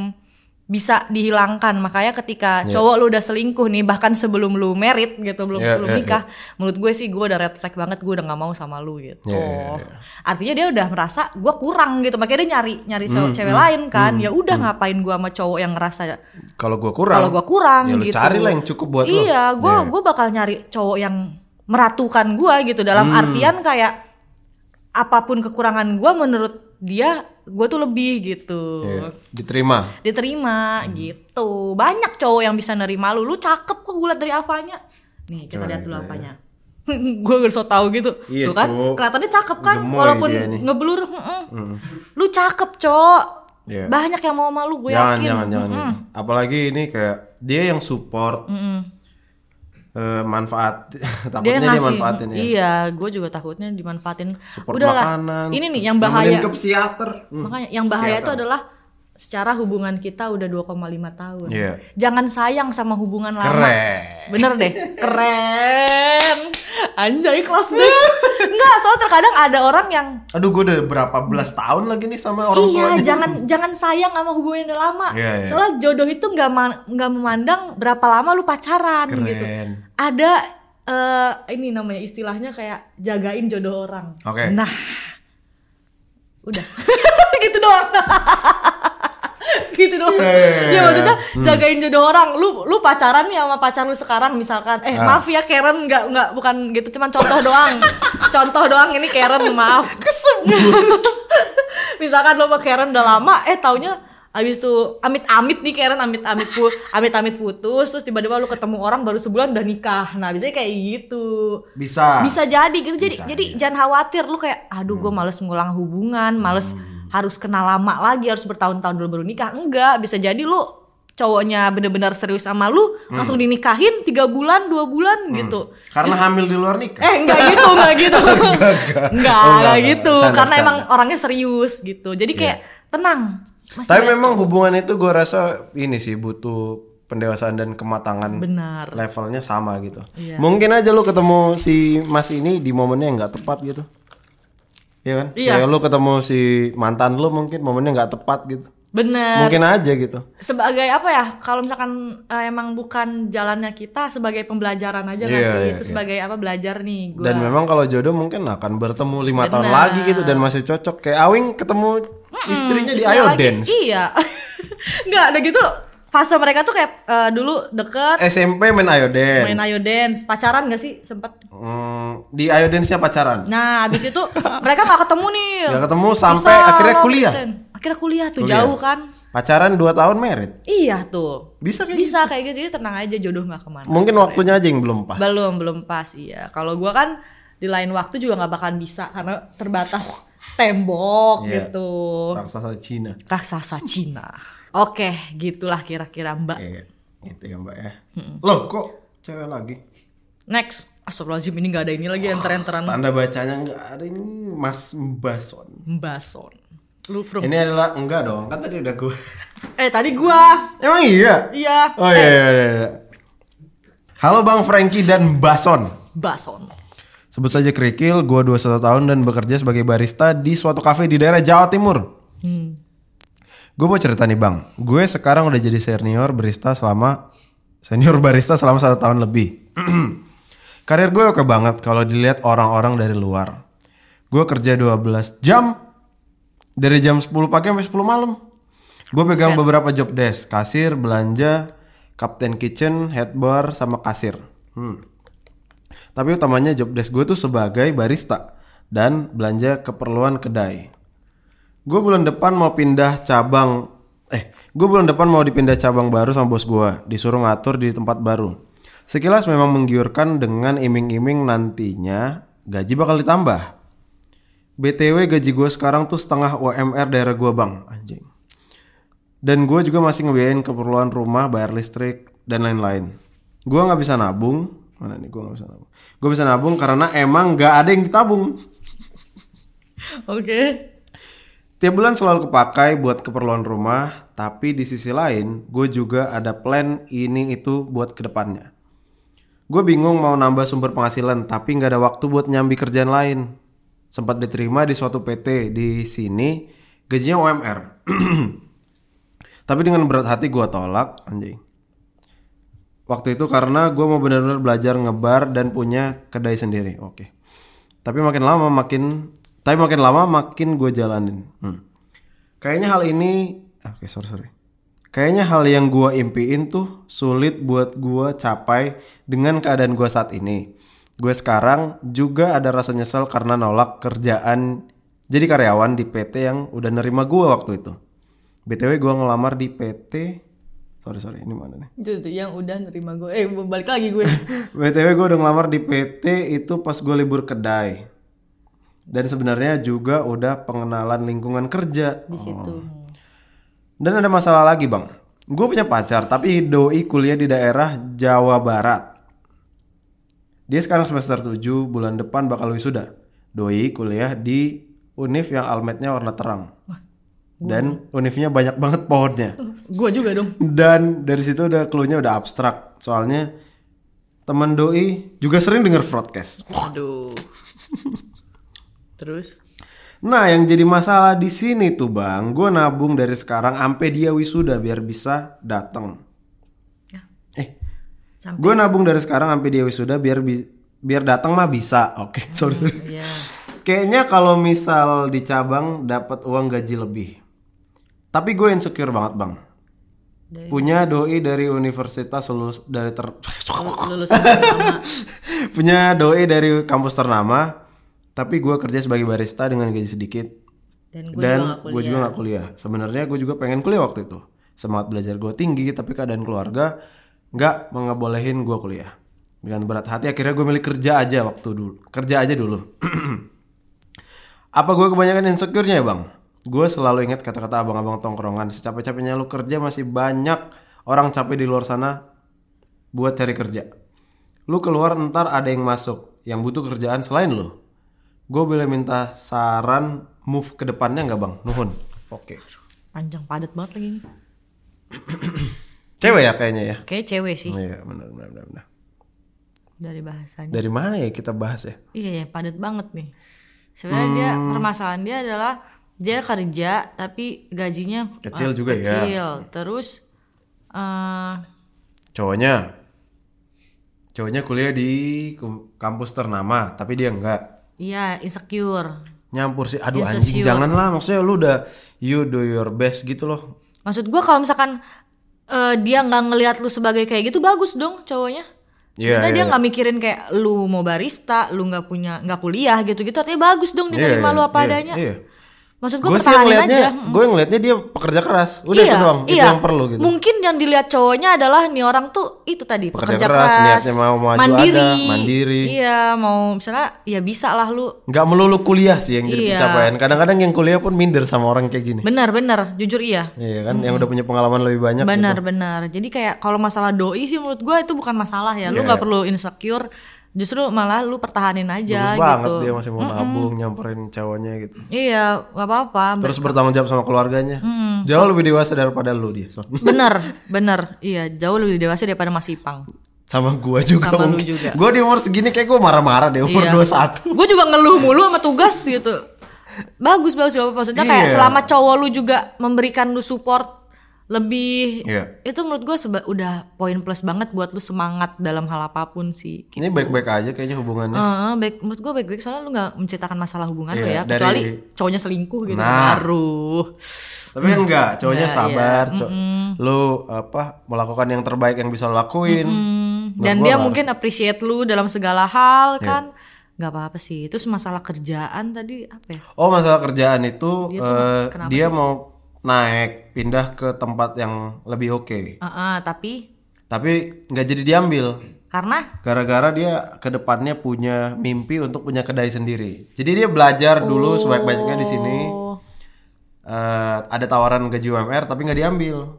[SPEAKER 2] bisa dihilangkan makanya ketika
[SPEAKER 1] Iya.
[SPEAKER 2] cowok lu udah selingkuh nih bahkan sebelum lu merit gitu belum
[SPEAKER 1] Yeah,
[SPEAKER 2] sebelum
[SPEAKER 1] yeah,
[SPEAKER 2] nikah menurut gue sih gue udah red flag banget gue udah nggak mau sama lu gitu
[SPEAKER 1] Yeah, yeah, yeah.
[SPEAKER 2] artinya dia udah merasa gue kurang gitu makanya dia nyari nyari
[SPEAKER 1] Mm,
[SPEAKER 2] cewek cewek lain kan ya udah ngapain gue sama cowok yang ngerasa
[SPEAKER 1] Kalau gua mm. kurang.
[SPEAKER 2] kalau gue kurang
[SPEAKER 1] ya lu
[SPEAKER 2] gitu
[SPEAKER 1] cari lah yang cukup buat lu.
[SPEAKER 2] iya gue
[SPEAKER 1] Ya.
[SPEAKER 2] gue bakal nyari cowok yang meratukan gue gitu dalam
[SPEAKER 1] Mm.
[SPEAKER 2] artian kayak apapun kekurangan gue menurut dia gue tuh lebih gitu
[SPEAKER 1] Iya. Diterima. Hmm.
[SPEAKER 2] diterima gitu banyak cowok yang bisa nerima lu lu cakep kok gue liat dari apanya nih coba lihat dulu apanya gue gak so tau gitu
[SPEAKER 1] gitu ya. Iya,
[SPEAKER 2] tuh kan
[SPEAKER 1] Cuk.
[SPEAKER 2] kelihatannya cakep kan
[SPEAKER 1] Gemoy
[SPEAKER 2] walaupun
[SPEAKER 1] dia nih. Hmm.
[SPEAKER 2] ngeblur mm-mm. lu cakep cok
[SPEAKER 1] Iya.
[SPEAKER 2] banyak yang mau sama lu gue
[SPEAKER 1] Jangan,
[SPEAKER 2] yakin
[SPEAKER 1] jangan, jangan. gitu. Apalagi ini kayak dia yang support. eh, manfaat
[SPEAKER 2] dia
[SPEAKER 1] takutnya
[SPEAKER 2] yang
[SPEAKER 1] dia,
[SPEAKER 2] ngasih
[SPEAKER 1] manfaatin ya.
[SPEAKER 2] iya gue juga takutnya dimanfaatin
[SPEAKER 1] Support
[SPEAKER 2] udahlah
[SPEAKER 1] makanan.
[SPEAKER 2] ini nih yang
[SPEAKER 1] nemenin
[SPEAKER 2] bahaya
[SPEAKER 1] ke psikiater. Hmm.
[SPEAKER 2] Makanya yang bahaya itu
[SPEAKER 1] Psikiater.
[SPEAKER 2] adalah secara hubungan kita udah 2,5 tahun.
[SPEAKER 1] Iya.
[SPEAKER 2] Jangan sayang sama hubungan lama.
[SPEAKER 1] Keren.
[SPEAKER 2] Bener deh. Keren. Anjay kelas deh. Enggak, soal terkadang ada orang yang
[SPEAKER 1] Aduh, gue udah berapa belas tahun lagi nih sama orang
[SPEAKER 2] iya,
[SPEAKER 1] tuanya.
[SPEAKER 2] jangan jangan sayang sama hubungan yang udah lama.
[SPEAKER 1] Iya, iya.
[SPEAKER 2] Soalnya jodoh itu nggak ma- nggak memandang berapa lama lu pacaran
[SPEAKER 1] Keren.
[SPEAKER 2] gitu. Ada eh, ini namanya istilahnya kayak jagain jodoh orang.
[SPEAKER 1] Oke.
[SPEAKER 2] Nah, udah gitu doang. gitu doang.
[SPEAKER 1] Iya,
[SPEAKER 2] Iya
[SPEAKER 1] iya, iya.
[SPEAKER 2] maksudnya jagain jodoh orang. Lu lu pacaran nih sama pacar lu sekarang misalkan. Eh
[SPEAKER 1] Ah.
[SPEAKER 2] maaf ya Karen nggak nggak bukan gitu cuman contoh doang. contoh doang ini Karen maaf. misalkan lo sama Karen udah lama eh taunya abis itu amit-amit nih Karen amit-amit put amit-amit putus terus tiba-tiba lu ketemu orang baru sebulan udah nikah nah biasanya kayak gitu
[SPEAKER 1] Bisa.
[SPEAKER 2] bisa jadi gitu jadi
[SPEAKER 1] Ah. Bisa, iya. Hmm.
[SPEAKER 2] jadi jangan khawatir lu kayak aduh gue males ngulang hubungan males harus kenal lama lagi harus bertahun-tahun dulu baru nikah enggak bisa jadi lu cowoknya bener-bener serius sama lu
[SPEAKER 1] Hmm.
[SPEAKER 2] langsung dinikahin tiga bulan dua bulan gitu
[SPEAKER 1] Karena hamil di luar nikah.
[SPEAKER 2] Eh enggak gitu, enggak gitu. enggak, enggak,
[SPEAKER 1] Oh, enggak, enggak.
[SPEAKER 2] gitu.
[SPEAKER 1] Bercanda,
[SPEAKER 2] Karena
[SPEAKER 1] bercanda. Iya.
[SPEAKER 2] emang orangnya serius gitu. Jadi kayak tenang. Masih
[SPEAKER 1] Tapi
[SPEAKER 2] ada-
[SPEAKER 1] memang hubungan itu gue rasa ini sih butuh pendewasaan dan kematangan
[SPEAKER 2] benar.
[SPEAKER 1] levelnya sama gitu.
[SPEAKER 2] Iya.
[SPEAKER 1] Mungkin aja lu ketemu si Mas ini di momennya yang nggak tepat gitu. Iya kan?
[SPEAKER 2] Iya.
[SPEAKER 1] Kayak lu ketemu si mantan lu mungkin momennya nggak tepat gitu.
[SPEAKER 2] Benar.
[SPEAKER 1] Mungkin aja gitu.
[SPEAKER 2] Sebagai apa ya? Kalau misalkan eh, emang bukan jalannya kita sebagai pembelajaran aja nggak
[SPEAKER 1] Iya,
[SPEAKER 2] sih?
[SPEAKER 1] iya,
[SPEAKER 2] itu
[SPEAKER 1] iya.
[SPEAKER 2] sebagai apa belajar nih gua.
[SPEAKER 1] Dan memang kalau jodoh mungkin akan bertemu lima tahun lagi gitu dan masih cocok. Kayak Awing ketemu istrinya di
[SPEAKER 2] Terus
[SPEAKER 1] Ayo
[SPEAKER 2] lagi-
[SPEAKER 1] Dance.
[SPEAKER 2] Iya. Enggak, udah gitu fase mereka tuh kayak eh, dulu deket
[SPEAKER 1] SMP main Ayo Dance.
[SPEAKER 2] main ayo dance pacaran gak sih sempet
[SPEAKER 1] Hmm, di Ayo Dance-nya pacaran.
[SPEAKER 2] nah abis itu mereka nggak ketemu nih
[SPEAKER 1] Nggak ketemu sampai
[SPEAKER 2] Pisah,
[SPEAKER 1] akhirnya
[SPEAKER 2] long
[SPEAKER 1] kuliah.
[SPEAKER 2] distance. akhirnya kuliah tuh
[SPEAKER 1] Kuliah.
[SPEAKER 2] jauh kan
[SPEAKER 1] Pacaran 2 tahun merit.
[SPEAKER 2] Iya tuh.
[SPEAKER 1] Bisa kayak
[SPEAKER 2] Bisa kayak gitu, jadi tenang aja jodoh nggak kemana.
[SPEAKER 1] Mungkin waktunya aja yang belum pas.
[SPEAKER 2] Belum belum pas iya. Kalau gua kan di lain waktu juga nggak bakalan bisa karena terbatas tembok
[SPEAKER 1] Iya.
[SPEAKER 2] gitu.
[SPEAKER 1] Raksasa Cina.
[SPEAKER 2] Raksasa Cina. Oke, gitulah kira-kira Mbak.
[SPEAKER 1] Iya, gitu ya Mbak ya. Loh, kok cewek lagi?
[SPEAKER 2] Next, Astagfirullahaladzim ini nggak ada ini lagi enter-enteran
[SPEAKER 1] Tanda bacanya nggak ada ini Mas Mbason.
[SPEAKER 2] Mbason. Lu from
[SPEAKER 1] Oh, Ini adalah enggak dong, kan tadi udah gue.
[SPEAKER 2] Eh tadi gua
[SPEAKER 1] Emang iya?
[SPEAKER 2] iya
[SPEAKER 1] Oh iya, iya, iya, iya. Halo Bang Frankie dan Bason.
[SPEAKER 2] Bason.
[SPEAKER 1] Sebut saja kerikil, gue 21 tahun dan bekerja sebagai barista di suatu kafe di daerah Jawa Timur.
[SPEAKER 2] Hmm.
[SPEAKER 1] Gue mau cerita nih bang, gue sekarang udah jadi senior barista selama senior barista selama satu tahun lebih. Karir gue oke banget kalau dilihat orang-orang dari luar. Gue kerja 12 jam dari jam 10 pagi sampai 10 malam. Gue pegang beberapa job desk, kasir, belanja, captain kitchen, head bar, sama kasir. Hmm. Tapi utamanya job desk gue tuh sebagai barista dan belanja keperluan kedai. Gue bulan depan mau pindah cabang eh gue bulan depan mau dipindah cabang baru sama bos gue disuruh ngatur di tempat baru. Sekilas memang menggiurkan dengan iming-iming nantinya gaji bakal ditambah. BTW gaji gue sekarang tuh setengah UMR daerah gue bang anjing. Dan gue juga masih ngebiayain keperluan rumah, bayar listrik, dan lain-lain. Gue nggak bisa nabung. Mana nih gue nggak bisa nabung. Gue bisa nabung karena emang nggak ada yang ditabung.
[SPEAKER 2] Oke.
[SPEAKER 1] Tiap bulan selalu kepakai buat keperluan rumah, tapi di sisi lain gue juga ada plan ini itu buat kedepannya. Gue bingung mau nambah sumber penghasilan, tapi nggak ada waktu buat nyambi kerjaan lain. Sempat diterima di suatu PT di sini, gajinya UMR. Tapi dengan berat hati gua tolak anjing. Waktu itu karena gua mau benar-benar belajar ngebar dan punya kedai sendiri. Oke. Tapi makin lama makin tapi makin lama makin gue jalanin. Hmm. Kayaknya hal ini ah, oke sorry sorry. Kayaknya hal yang gua impiin tuh sulit buat gua capai dengan keadaan gua saat ini. Gue sekarang juga ada rasa nyesel karena nolak kerjaan jadi karyawan di PT yang udah nerima gua waktu itu. BTW gua ngelamar di PT Sorry sorry ini mana nih?
[SPEAKER 2] Itu tuh yang udah nerima gue. Eh balik lagi gue.
[SPEAKER 1] BTW gue udah ngelamar di PT itu pas gue libur kedai. Dan sebenarnya juga udah pengenalan lingkungan kerja. Oh.
[SPEAKER 2] Di situ.
[SPEAKER 1] Dan ada masalah lagi bang. Gue punya pacar tapi doi kuliah di daerah Jawa Barat. Dia sekarang semester 7 bulan depan bakal wisuda. Doi kuliah di univ yang almetnya warna terang. Dan univnya banyak banget pohonnya
[SPEAKER 2] gue juga dong.
[SPEAKER 1] dan dari situ udah clue-nya udah abstrak soalnya teman doi juga sering denger broadcast
[SPEAKER 2] Aduh. Terus
[SPEAKER 1] nah yang jadi masalah di sini tuh bang gue nabung dari sekarang sampai dia wisuda biar bisa datang
[SPEAKER 2] Ya.
[SPEAKER 1] eh
[SPEAKER 2] Sampai-
[SPEAKER 1] gue nabung dari sekarang sampai dia wisuda biar bi- biar datang mah bisa oke sorry sorry
[SPEAKER 2] ya
[SPEAKER 1] Kayaknya kalau misal di cabang dapat uang gaji lebih. Tapi gue insecure banget, Bang.
[SPEAKER 2] Dari-
[SPEAKER 1] Punya doi dari universitas lulus dari ter
[SPEAKER 2] lulus sama
[SPEAKER 1] punya doi dari kampus ternama tapi gue kerja sebagai barista dengan gaji sedikit
[SPEAKER 2] dan gue juga
[SPEAKER 1] dan
[SPEAKER 2] gak
[SPEAKER 1] gue juga nggak kuliah sebenarnya gue juga pengen kuliah waktu itu semangat belajar gue tinggi tapi keadaan keluarga nggak mengebolehin gue kuliah dengan berat hati akhirnya gue milih kerja aja waktu dulu kerja aja dulu apa gue kebanyakan insecure-nya ya bang gue selalu ingat kata-kata abang-abang tongkrongan secapek-capeknya lu kerja masih banyak orang capek di luar sana buat cari kerja. Lu keluar ntar ada yang masuk, yang butuh kerjaan selain lu. Gue boleh minta saran move ke depannya nggak bang? Nuhun. Oke.
[SPEAKER 2] panjang padat banget lagi ini.
[SPEAKER 1] Cewek ya kayaknya ya.
[SPEAKER 2] Kayak cewek sih
[SPEAKER 1] Iya benar benar benar. benar.
[SPEAKER 2] dari bahasanya.
[SPEAKER 1] Dari mana ya kita bahas ya?
[SPEAKER 2] Iya, ya, padat banget nih. Sebenarnya dia
[SPEAKER 1] Hmm.
[SPEAKER 2] permasalahan dia adalah dia kerja tapi gajinya
[SPEAKER 1] Kecil
[SPEAKER 2] eh,
[SPEAKER 1] juga ya.
[SPEAKER 2] Kecil. Terus eh
[SPEAKER 1] Cowoknya. Cowoknya kuliah di kum- kampus ternama, tapi dia nggak
[SPEAKER 2] iya insecure.
[SPEAKER 1] nyampur sih. Aduh anjing,
[SPEAKER 2] Insecure.
[SPEAKER 1] janganlah. Maksudnya lu udah you do your best gitu loh.
[SPEAKER 2] Maksud gua kalau misalkan eh, dia nggak ngelihat lu sebagai kayak gitu bagus dong cowoknya.
[SPEAKER 1] Iya,
[SPEAKER 2] Kita
[SPEAKER 1] iya,
[SPEAKER 2] dia nggak mikirin kayak lu mau barista, lu nggak punya nggak kuliah gitu-gitu artinya bagus dong dia
[SPEAKER 1] Iya,
[SPEAKER 2] terima
[SPEAKER 1] iya,
[SPEAKER 2] lu apa
[SPEAKER 1] iya,
[SPEAKER 2] adanya.
[SPEAKER 1] iya.
[SPEAKER 2] Maksud gua
[SPEAKER 1] Gue sih
[SPEAKER 2] pertahanin aja. Iya,
[SPEAKER 1] ngelihatnya, gue ngelihatnya dia pekerja keras. Udah itu doang, itu yang perlu gitu.
[SPEAKER 2] Mungkin yang dilihat cowoknya adalah nih orang tuh itu tadi
[SPEAKER 1] Pekerja
[SPEAKER 2] pekerja,
[SPEAKER 1] keras,
[SPEAKER 2] keras,
[SPEAKER 1] niatnya mau maju
[SPEAKER 2] mandiri,
[SPEAKER 1] ada, mandiri.
[SPEAKER 2] Iya, mau misalnya ya bisa lah lu.
[SPEAKER 1] nggak melulu kuliah sih yang jadi
[SPEAKER 2] Iya.
[SPEAKER 1] pencapaian. Kadang-kadang yang kuliah pun minder sama orang kayak gini.
[SPEAKER 2] Benar-benar, jujur iya.
[SPEAKER 1] Iya kan, yang udah punya pengalaman lebih banyak.
[SPEAKER 2] Benar-benar. Jadi kayak kalau masalah doi sih menurut gua itu bukan masalah
[SPEAKER 1] Iya.
[SPEAKER 2] ya. Lu nggak perlu insecure. Justru malah lu pertahanin aja
[SPEAKER 1] Bagus banget
[SPEAKER 2] gitu.
[SPEAKER 1] dia masih mau nabung, nyamperin cowoknya gitu.
[SPEAKER 2] Iya, nggak apa-apa.
[SPEAKER 1] Terus bertanggung jawab sama keluarganya. Jauh lebih dewasa daripada lu dia. Son.
[SPEAKER 2] Bener, bener. Iya, jauh lebih dewasa daripada Mas Ipang.
[SPEAKER 1] Sama gua juga.
[SPEAKER 2] Sama lu
[SPEAKER 1] mungkin.
[SPEAKER 2] juga.
[SPEAKER 1] Gua di umur segini kayak gua marah-marah di umur
[SPEAKER 2] Iya.
[SPEAKER 1] 21.
[SPEAKER 2] gue juga ngeluh mulu sama tugas gitu bagus bagus bagus maksudnya kayak
[SPEAKER 1] Iya.
[SPEAKER 2] selama cowok lu juga memberikan lu support lebih
[SPEAKER 1] Iya.
[SPEAKER 2] itu menurut gue seba- udah poin plus banget buat lu semangat dalam hal apapun sih
[SPEAKER 1] Ini baik-baik aja kayaknya hubungannya.
[SPEAKER 2] Eh, baik, menurut gue baik-baik soalnya lu nggak menceritakan masalah hubungan lu ya
[SPEAKER 1] Iya, dari-
[SPEAKER 2] kecuali cowoknya selingkuh gitu
[SPEAKER 1] Nah.
[SPEAKER 2] baru
[SPEAKER 1] Tapi kan enggak, cowoknya
[SPEAKER 2] Enggak,
[SPEAKER 1] sabar, cow- lu apa melakukan yang terbaik yang bisa lu lakuin.
[SPEAKER 2] Hmm,
[SPEAKER 1] gua
[SPEAKER 2] dan
[SPEAKER 1] Iya.
[SPEAKER 2] dia
[SPEAKER 1] harus-
[SPEAKER 2] mungkin appreciate lu dalam segala hal kan nggak apa-apa sih terus masalah kerjaan tadi apa ya
[SPEAKER 1] Oh masalah kerjaan itu eh,
[SPEAKER 2] kenapa
[SPEAKER 1] dia mau naik pindah ke tempat yang lebih oke,
[SPEAKER 2] Eh, eh, tapi
[SPEAKER 1] tapi nggak jadi diambil
[SPEAKER 2] karena
[SPEAKER 1] gara-gara dia kedepannya punya mimpi untuk punya kedai sendiri. Jadi dia belajar
[SPEAKER 2] Oh.
[SPEAKER 1] dulu sebaik-baiknya di sini. Eh, ada tawaran gaji UMR tapi nggak diambil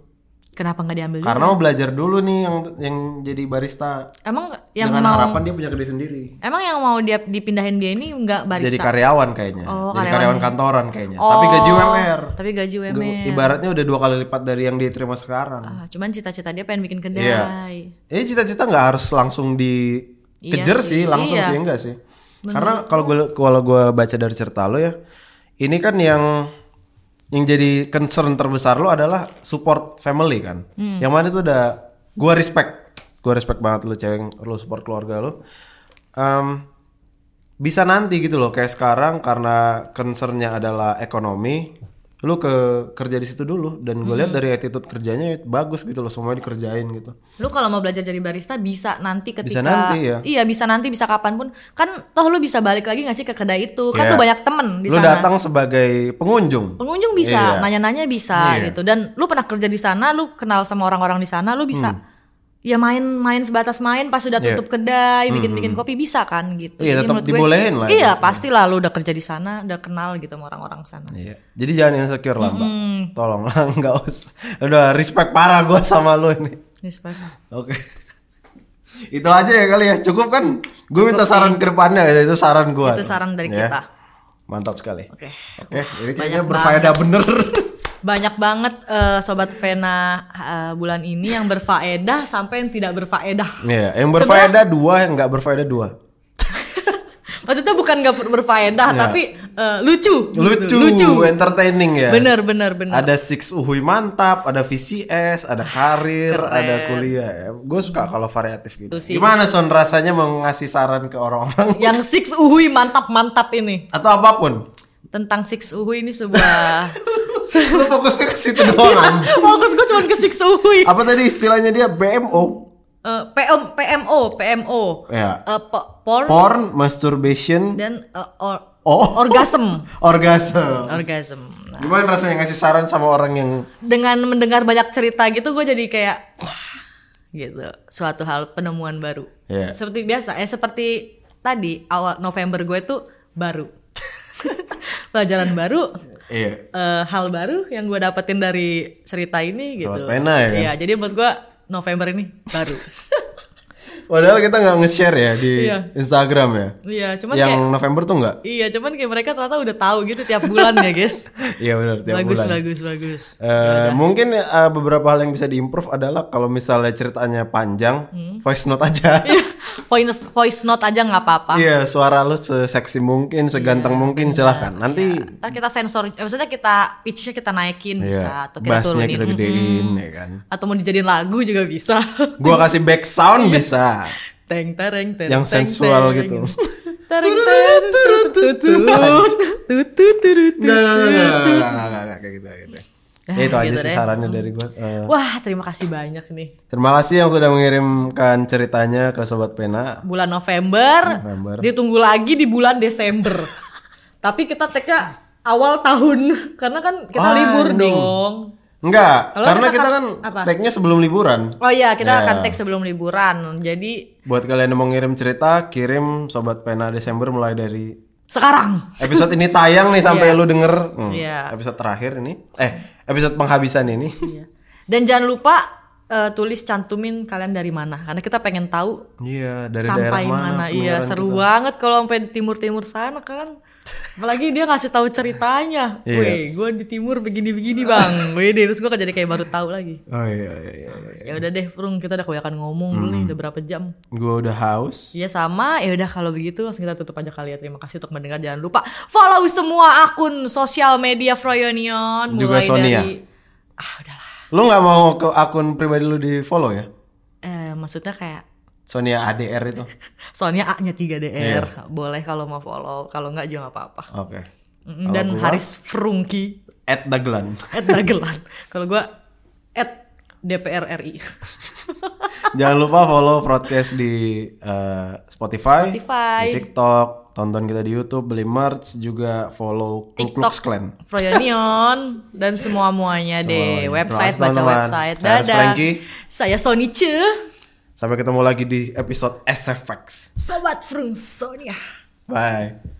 [SPEAKER 2] Kenapa nggak diambil? dulu?
[SPEAKER 1] karena mau belajar dulu nih yang yang jadi barista
[SPEAKER 2] Emang yang
[SPEAKER 1] dengan
[SPEAKER 2] mau
[SPEAKER 1] harapan dia punya kedai sendiri.
[SPEAKER 2] emang yang mau dia dipindahin dia ini nggak
[SPEAKER 1] Jadi
[SPEAKER 2] barista.
[SPEAKER 1] karyawan kayaknya, jadi
[SPEAKER 2] Oh, karyawan.
[SPEAKER 1] karyawan kantoran kayaknya, tapi gaji
[SPEAKER 2] Oh,
[SPEAKER 1] UMR.
[SPEAKER 2] Tapi gaji UMR.
[SPEAKER 1] Ibaratnya udah dua kali lipat dari yang dia terima sekarang.
[SPEAKER 2] Ah, cuman cita-cita dia pengen bikin kedai.
[SPEAKER 1] Iya. Ini cita-cita nggak harus langsung dikejar
[SPEAKER 2] Iya
[SPEAKER 1] sih,
[SPEAKER 2] sih,
[SPEAKER 1] langsung
[SPEAKER 2] iya.
[SPEAKER 1] sih enggak sih. Karena kalau gue kalau gue baca dari cerita lo ya, ini kan yang yang jadi concern terbesar lo adalah support family kan.
[SPEAKER 2] Hmm.
[SPEAKER 1] Yang mana itu udah gua respect. Gua respect banget lo cewek lo support keluarga lo. Em, bisa nanti gitu loh kayak sekarang karena concernnya adalah ekonomi lu ke kerja di situ dulu dan gue
[SPEAKER 2] Hmm.
[SPEAKER 1] lihat dari attitude kerjanya bagus gitu loh semuanya dikerjain gitu
[SPEAKER 2] Lu kalau mau belajar jadi barista bisa nanti ketika
[SPEAKER 1] Bisa nanti, ya.
[SPEAKER 2] Iya, bisa nanti bisa kapanpun. Kan toh lu bisa balik lagi nggak sih ke kedai itu? Kan
[SPEAKER 1] Iya.
[SPEAKER 2] tuh banyak temen di
[SPEAKER 1] lu
[SPEAKER 2] sana.
[SPEAKER 1] datang sebagai pengunjung
[SPEAKER 2] Pengunjung
[SPEAKER 1] Iya.
[SPEAKER 2] bisa, nanya-nanya bisa gitu. Dan lu pernah kerja di sana, lu kenal sama orang-orang di sana, lu bisa
[SPEAKER 1] Hmm.
[SPEAKER 2] ya main-main sebatas main pas sudah tutup kedai, bikin-bikin kopi bisa kan gitu.
[SPEAKER 1] Hmm. Iya,
[SPEAKER 2] Jadi
[SPEAKER 1] tetap
[SPEAKER 2] menurut gue-
[SPEAKER 1] dibolehin lah. gitu.
[SPEAKER 2] Iya, pastilah lu udah kerja di sana, udah kenal gitu sama orang-orang sana.
[SPEAKER 1] Iya. Jadi jangan insecure lah, Mbak. Tolong lah, enggak usah. Udah respect parah gua sama lu ini.
[SPEAKER 2] Ini sebenarnya.
[SPEAKER 1] Oke. Itu aja ya kali ya. Cukup kan? Gue minta saran ke depannya ya. itu saran gua.
[SPEAKER 2] Itu saran dari
[SPEAKER 1] Ya.
[SPEAKER 2] kita.
[SPEAKER 1] Mantap sekali.
[SPEAKER 2] Oke.
[SPEAKER 1] Oke, ini kayaknya berfaedah bener.
[SPEAKER 2] Banyak banget eh, sobat Vena eh, bulan ini yang berfaedah sampai yang tidak berfaedah.
[SPEAKER 1] Iya, yang berfaedah dua, yang enggak berfaedah dua.
[SPEAKER 2] Maksudnya bukan nggak ber- berfaedah, tapi eh, lucu.
[SPEAKER 1] Iya. Lucu, entertaining ya.
[SPEAKER 2] Bener bener bener.
[SPEAKER 1] Ada Six Uhui mantap, ada VCS, ada karir,
[SPEAKER 2] Ah, Keren.
[SPEAKER 1] ada kuliah. ya. Gue suka kalau variatif gitu.
[SPEAKER 2] Tuh sih.
[SPEAKER 1] Gimana Son rasanya mau ngasih saran ke orang-orang
[SPEAKER 2] yang Six Uhui mantap-mantap ini.
[SPEAKER 1] atau apapun?
[SPEAKER 2] Tentang Six Uhui ini sebuah Oh,
[SPEAKER 1] lu fokusnya ke situ doang anjing.
[SPEAKER 2] Fokus gue cuma ke Six Uhui.
[SPEAKER 1] apa tadi istilahnya dia BMO
[SPEAKER 2] Eh, PM, PMO, PMO.
[SPEAKER 1] ya
[SPEAKER 2] Eh, po- porn
[SPEAKER 1] porn masturbation
[SPEAKER 2] dan eh, or-
[SPEAKER 1] oh
[SPEAKER 2] orgasm.
[SPEAKER 1] orgasme
[SPEAKER 2] Orgasm. Nah,
[SPEAKER 1] gimana rasanya ngasih saran sama orang yang
[SPEAKER 2] dengan mendengar banyak cerita gitu gue jadi kayak gitu. Suatu hal penemuan baru.
[SPEAKER 1] Iya.
[SPEAKER 2] Seperti biasa, eh seperti tadi awal November gue tuh baru. Pelajaran baru,
[SPEAKER 1] iya
[SPEAKER 2] eh, hal baru yang gue dapetin dari cerita ini gitu.
[SPEAKER 1] Sobat Pena, ya kan?
[SPEAKER 2] Iya, jadi buat gue November ini baru.
[SPEAKER 1] padahal kita nggak nge-share ya di
[SPEAKER 2] Iya.
[SPEAKER 1] Instagram ya
[SPEAKER 2] Iya, cuman
[SPEAKER 1] yang
[SPEAKER 2] kayak
[SPEAKER 1] November tuh nggak
[SPEAKER 2] iya, cuman kayak mereka ternyata udah tahu gitu tiap bulan ya, guys.
[SPEAKER 1] iya benar tiap
[SPEAKER 2] bagus,
[SPEAKER 1] bulan
[SPEAKER 2] bagus, bagus.
[SPEAKER 1] Eh, mungkin eh, beberapa hal yang bisa diimprove adalah kalau misalnya ceritanya panjang
[SPEAKER 2] Hmm.
[SPEAKER 1] voice note aja
[SPEAKER 2] voice voice note aja nggak apa-apa.
[SPEAKER 1] Iya, suara lu seseksi mungkin,
[SPEAKER 2] Iya,
[SPEAKER 1] seganteng mungkin silahkan. Nanti
[SPEAKER 2] Ntar kita sensor, eh, maksudnya kita pitchnya kita naikin Iya, bisa
[SPEAKER 1] ya,
[SPEAKER 2] atau kita
[SPEAKER 1] bassnya
[SPEAKER 2] turunin
[SPEAKER 1] kita
[SPEAKER 2] mm,
[SPEAKER 1] gedein ya kan.
[SPEAKER 2] atau mau dijadiin lagu juga bisa.
[SPEAKER 1] Gua kasih back
[SPEAKER 2] Iya.
[SPEAKER 1] sound bisa.
[SPEAKER 2] teng tereng tereng.
[SPEAKER 1] Yang
[SPEAKER 2] teng,
[SPEAKER 1] sensual
[SPEAKER 2] tereng.
[SPEAKER 1] gitu.
[SPEAKER 2] Tereng tereng turut turut turut turut turut.
[SPEAKER 1] Enggak, enggak, enggak, enggak, enggak, enggak, enggak, kayak gitu, kayak gitu. Ya, itu aja
[SPEAKER 2] Iya. gitu
[SPEAKER 1] sih
[SPEAKER 2] deh.
[SPEAKER 1] sarannya dari gua. Eh,
[SPEAKER 2] Wah, terima kasih banyak nih.
[SPEAKER 1] terima kasih yang sudah mengirimkan ceritanya ke sobat pena.
[SPEAKER 2] Bulan November,
[SPEAKER 1] November.
[SPEAKER 2] ditunggu lagi di bulan Desember. Tapi kita tag-nya awal tahun karena kan kita
[SPEAKER 1] Wah,
[SPEAKER 2] libur
[SPEAKER 1] mending.
[SPEAKER 2] dong.
[SPEAKER 1] Enggak,
[SPEAKER 2] Kalau
[SPEAKER 1] karena
[SPEAKER 2] kita
[SPEAKER 1] kita
[SPEAKER 2] kap-
[SPEAKER 1] kan
[SPEAKER 2] apa?
[SPEAKER 1] tag-nya sebelum liburan.
[SPEAKER 2] Oh iya, kita
[SPEAKER 1] Ya.
[SPEAKER 2] akan tag sebelum liburan. Jadi
[SPEAKER 1] Buat kalian yang mau ngirim cerita, kirim sobat pena Desember mulai dari
[SPEAKER 2] sekarang.
[SPEAKER 1] episode ini tayang nih sampai lu denger hmm,
[SPEAKER 2] Iya.
[SPEAKER 1] episode terakhir ini eh episode penghabisan ini
[SPEAKER 2] Iya. Dan jangan lupa eh, tulis cantumin kalian dari mana karena kita pengen tahu
[SPEAKER 1] iya dari daerah
[SPEAKER 2] sampai
[SPEAKER 1] mana,
[SPEAKER 2] mana. Iya,
[SPEAKER 1] pengeluaran
[SPEAKER 2] seru banget kalau sampai timur-timur sana kan. Apalagi dia ngasih tahu ceritanya.
[SPEAKER 1] Iya.
[SPEAKER 2] Weh, gue di timur begini-begini, Bang. Weh, deh, terus gue jadi kayak baru tahu lagi.
[SPEAKER 1] kita. oh iya iya iya, iya.
[SPEAKER 2] ya udah deh Prung kita udah kebanyakan ngomong dulu
[SPEAKER 1] Hmm.
[SPEAKER 2] nih udah berapa jam
[SPEAKER 1] gue udah haus
[SPEAKER 2] Iya sama, ya udah kalau begitu langsung kita tutup aja kali ya. Terima kasih untuk mendengar. Jangan lupa follow semua akun sosial media Froyonion
[SPEAKER 1] Juga
[SPEAKER 2] mulai
[SPEAKER 1] Sonia.
[SPEAKER 2] dari ah udahlah.
[SPEAKER 1] lu nggak mau ke akun pribadi lu di follow ya
[SPEAKER 2] Eh maksudnya kayak
[SPEAKER 1] Sonia ADR itu
[SPEAKER 2] Sonia A-nya
[SPEAKER 1] Iya.
[SPEAKER 2] 3DR. Boleh kalau mau follow, kalau enggak juga nggak apa-apa.
[SPEAKER 1] oke
[SPEAKER 2] Mm, Dan Haris Frungki
[SPEAKER 1] at Daglan
[SPEAKER 2] at Dagelan. kalau gua at DPR RI.
[SPEAKER 1] jangan lupa follow broadcast di eh, Spotify,
[SPEAKER 2] Spotify.
[SPEAKER 1] di TikTok tonton kita di YouTube beli merch juga follow Ku Klux Klan
[SPEAKER 2] Froyonion dan semua muanya deh. Website
[SPEAKER 1] Terima kasih,
[SPEAKER 2] baca
[SPEAKER 1] teman-teman.
[SPEAKER 2] website.
[SPEAKER 1] Saya Aris
[SPEAKER 2] Dadah.
[SPEAKER 1] Franky.
[SPEAKER 2] Saya Sony Ce,
[SPEAKER 1] sampai ketemu lagi di episode SFX
[SPEAKER 2] sobat Frung Sonia.
[SPEAKER 1] bye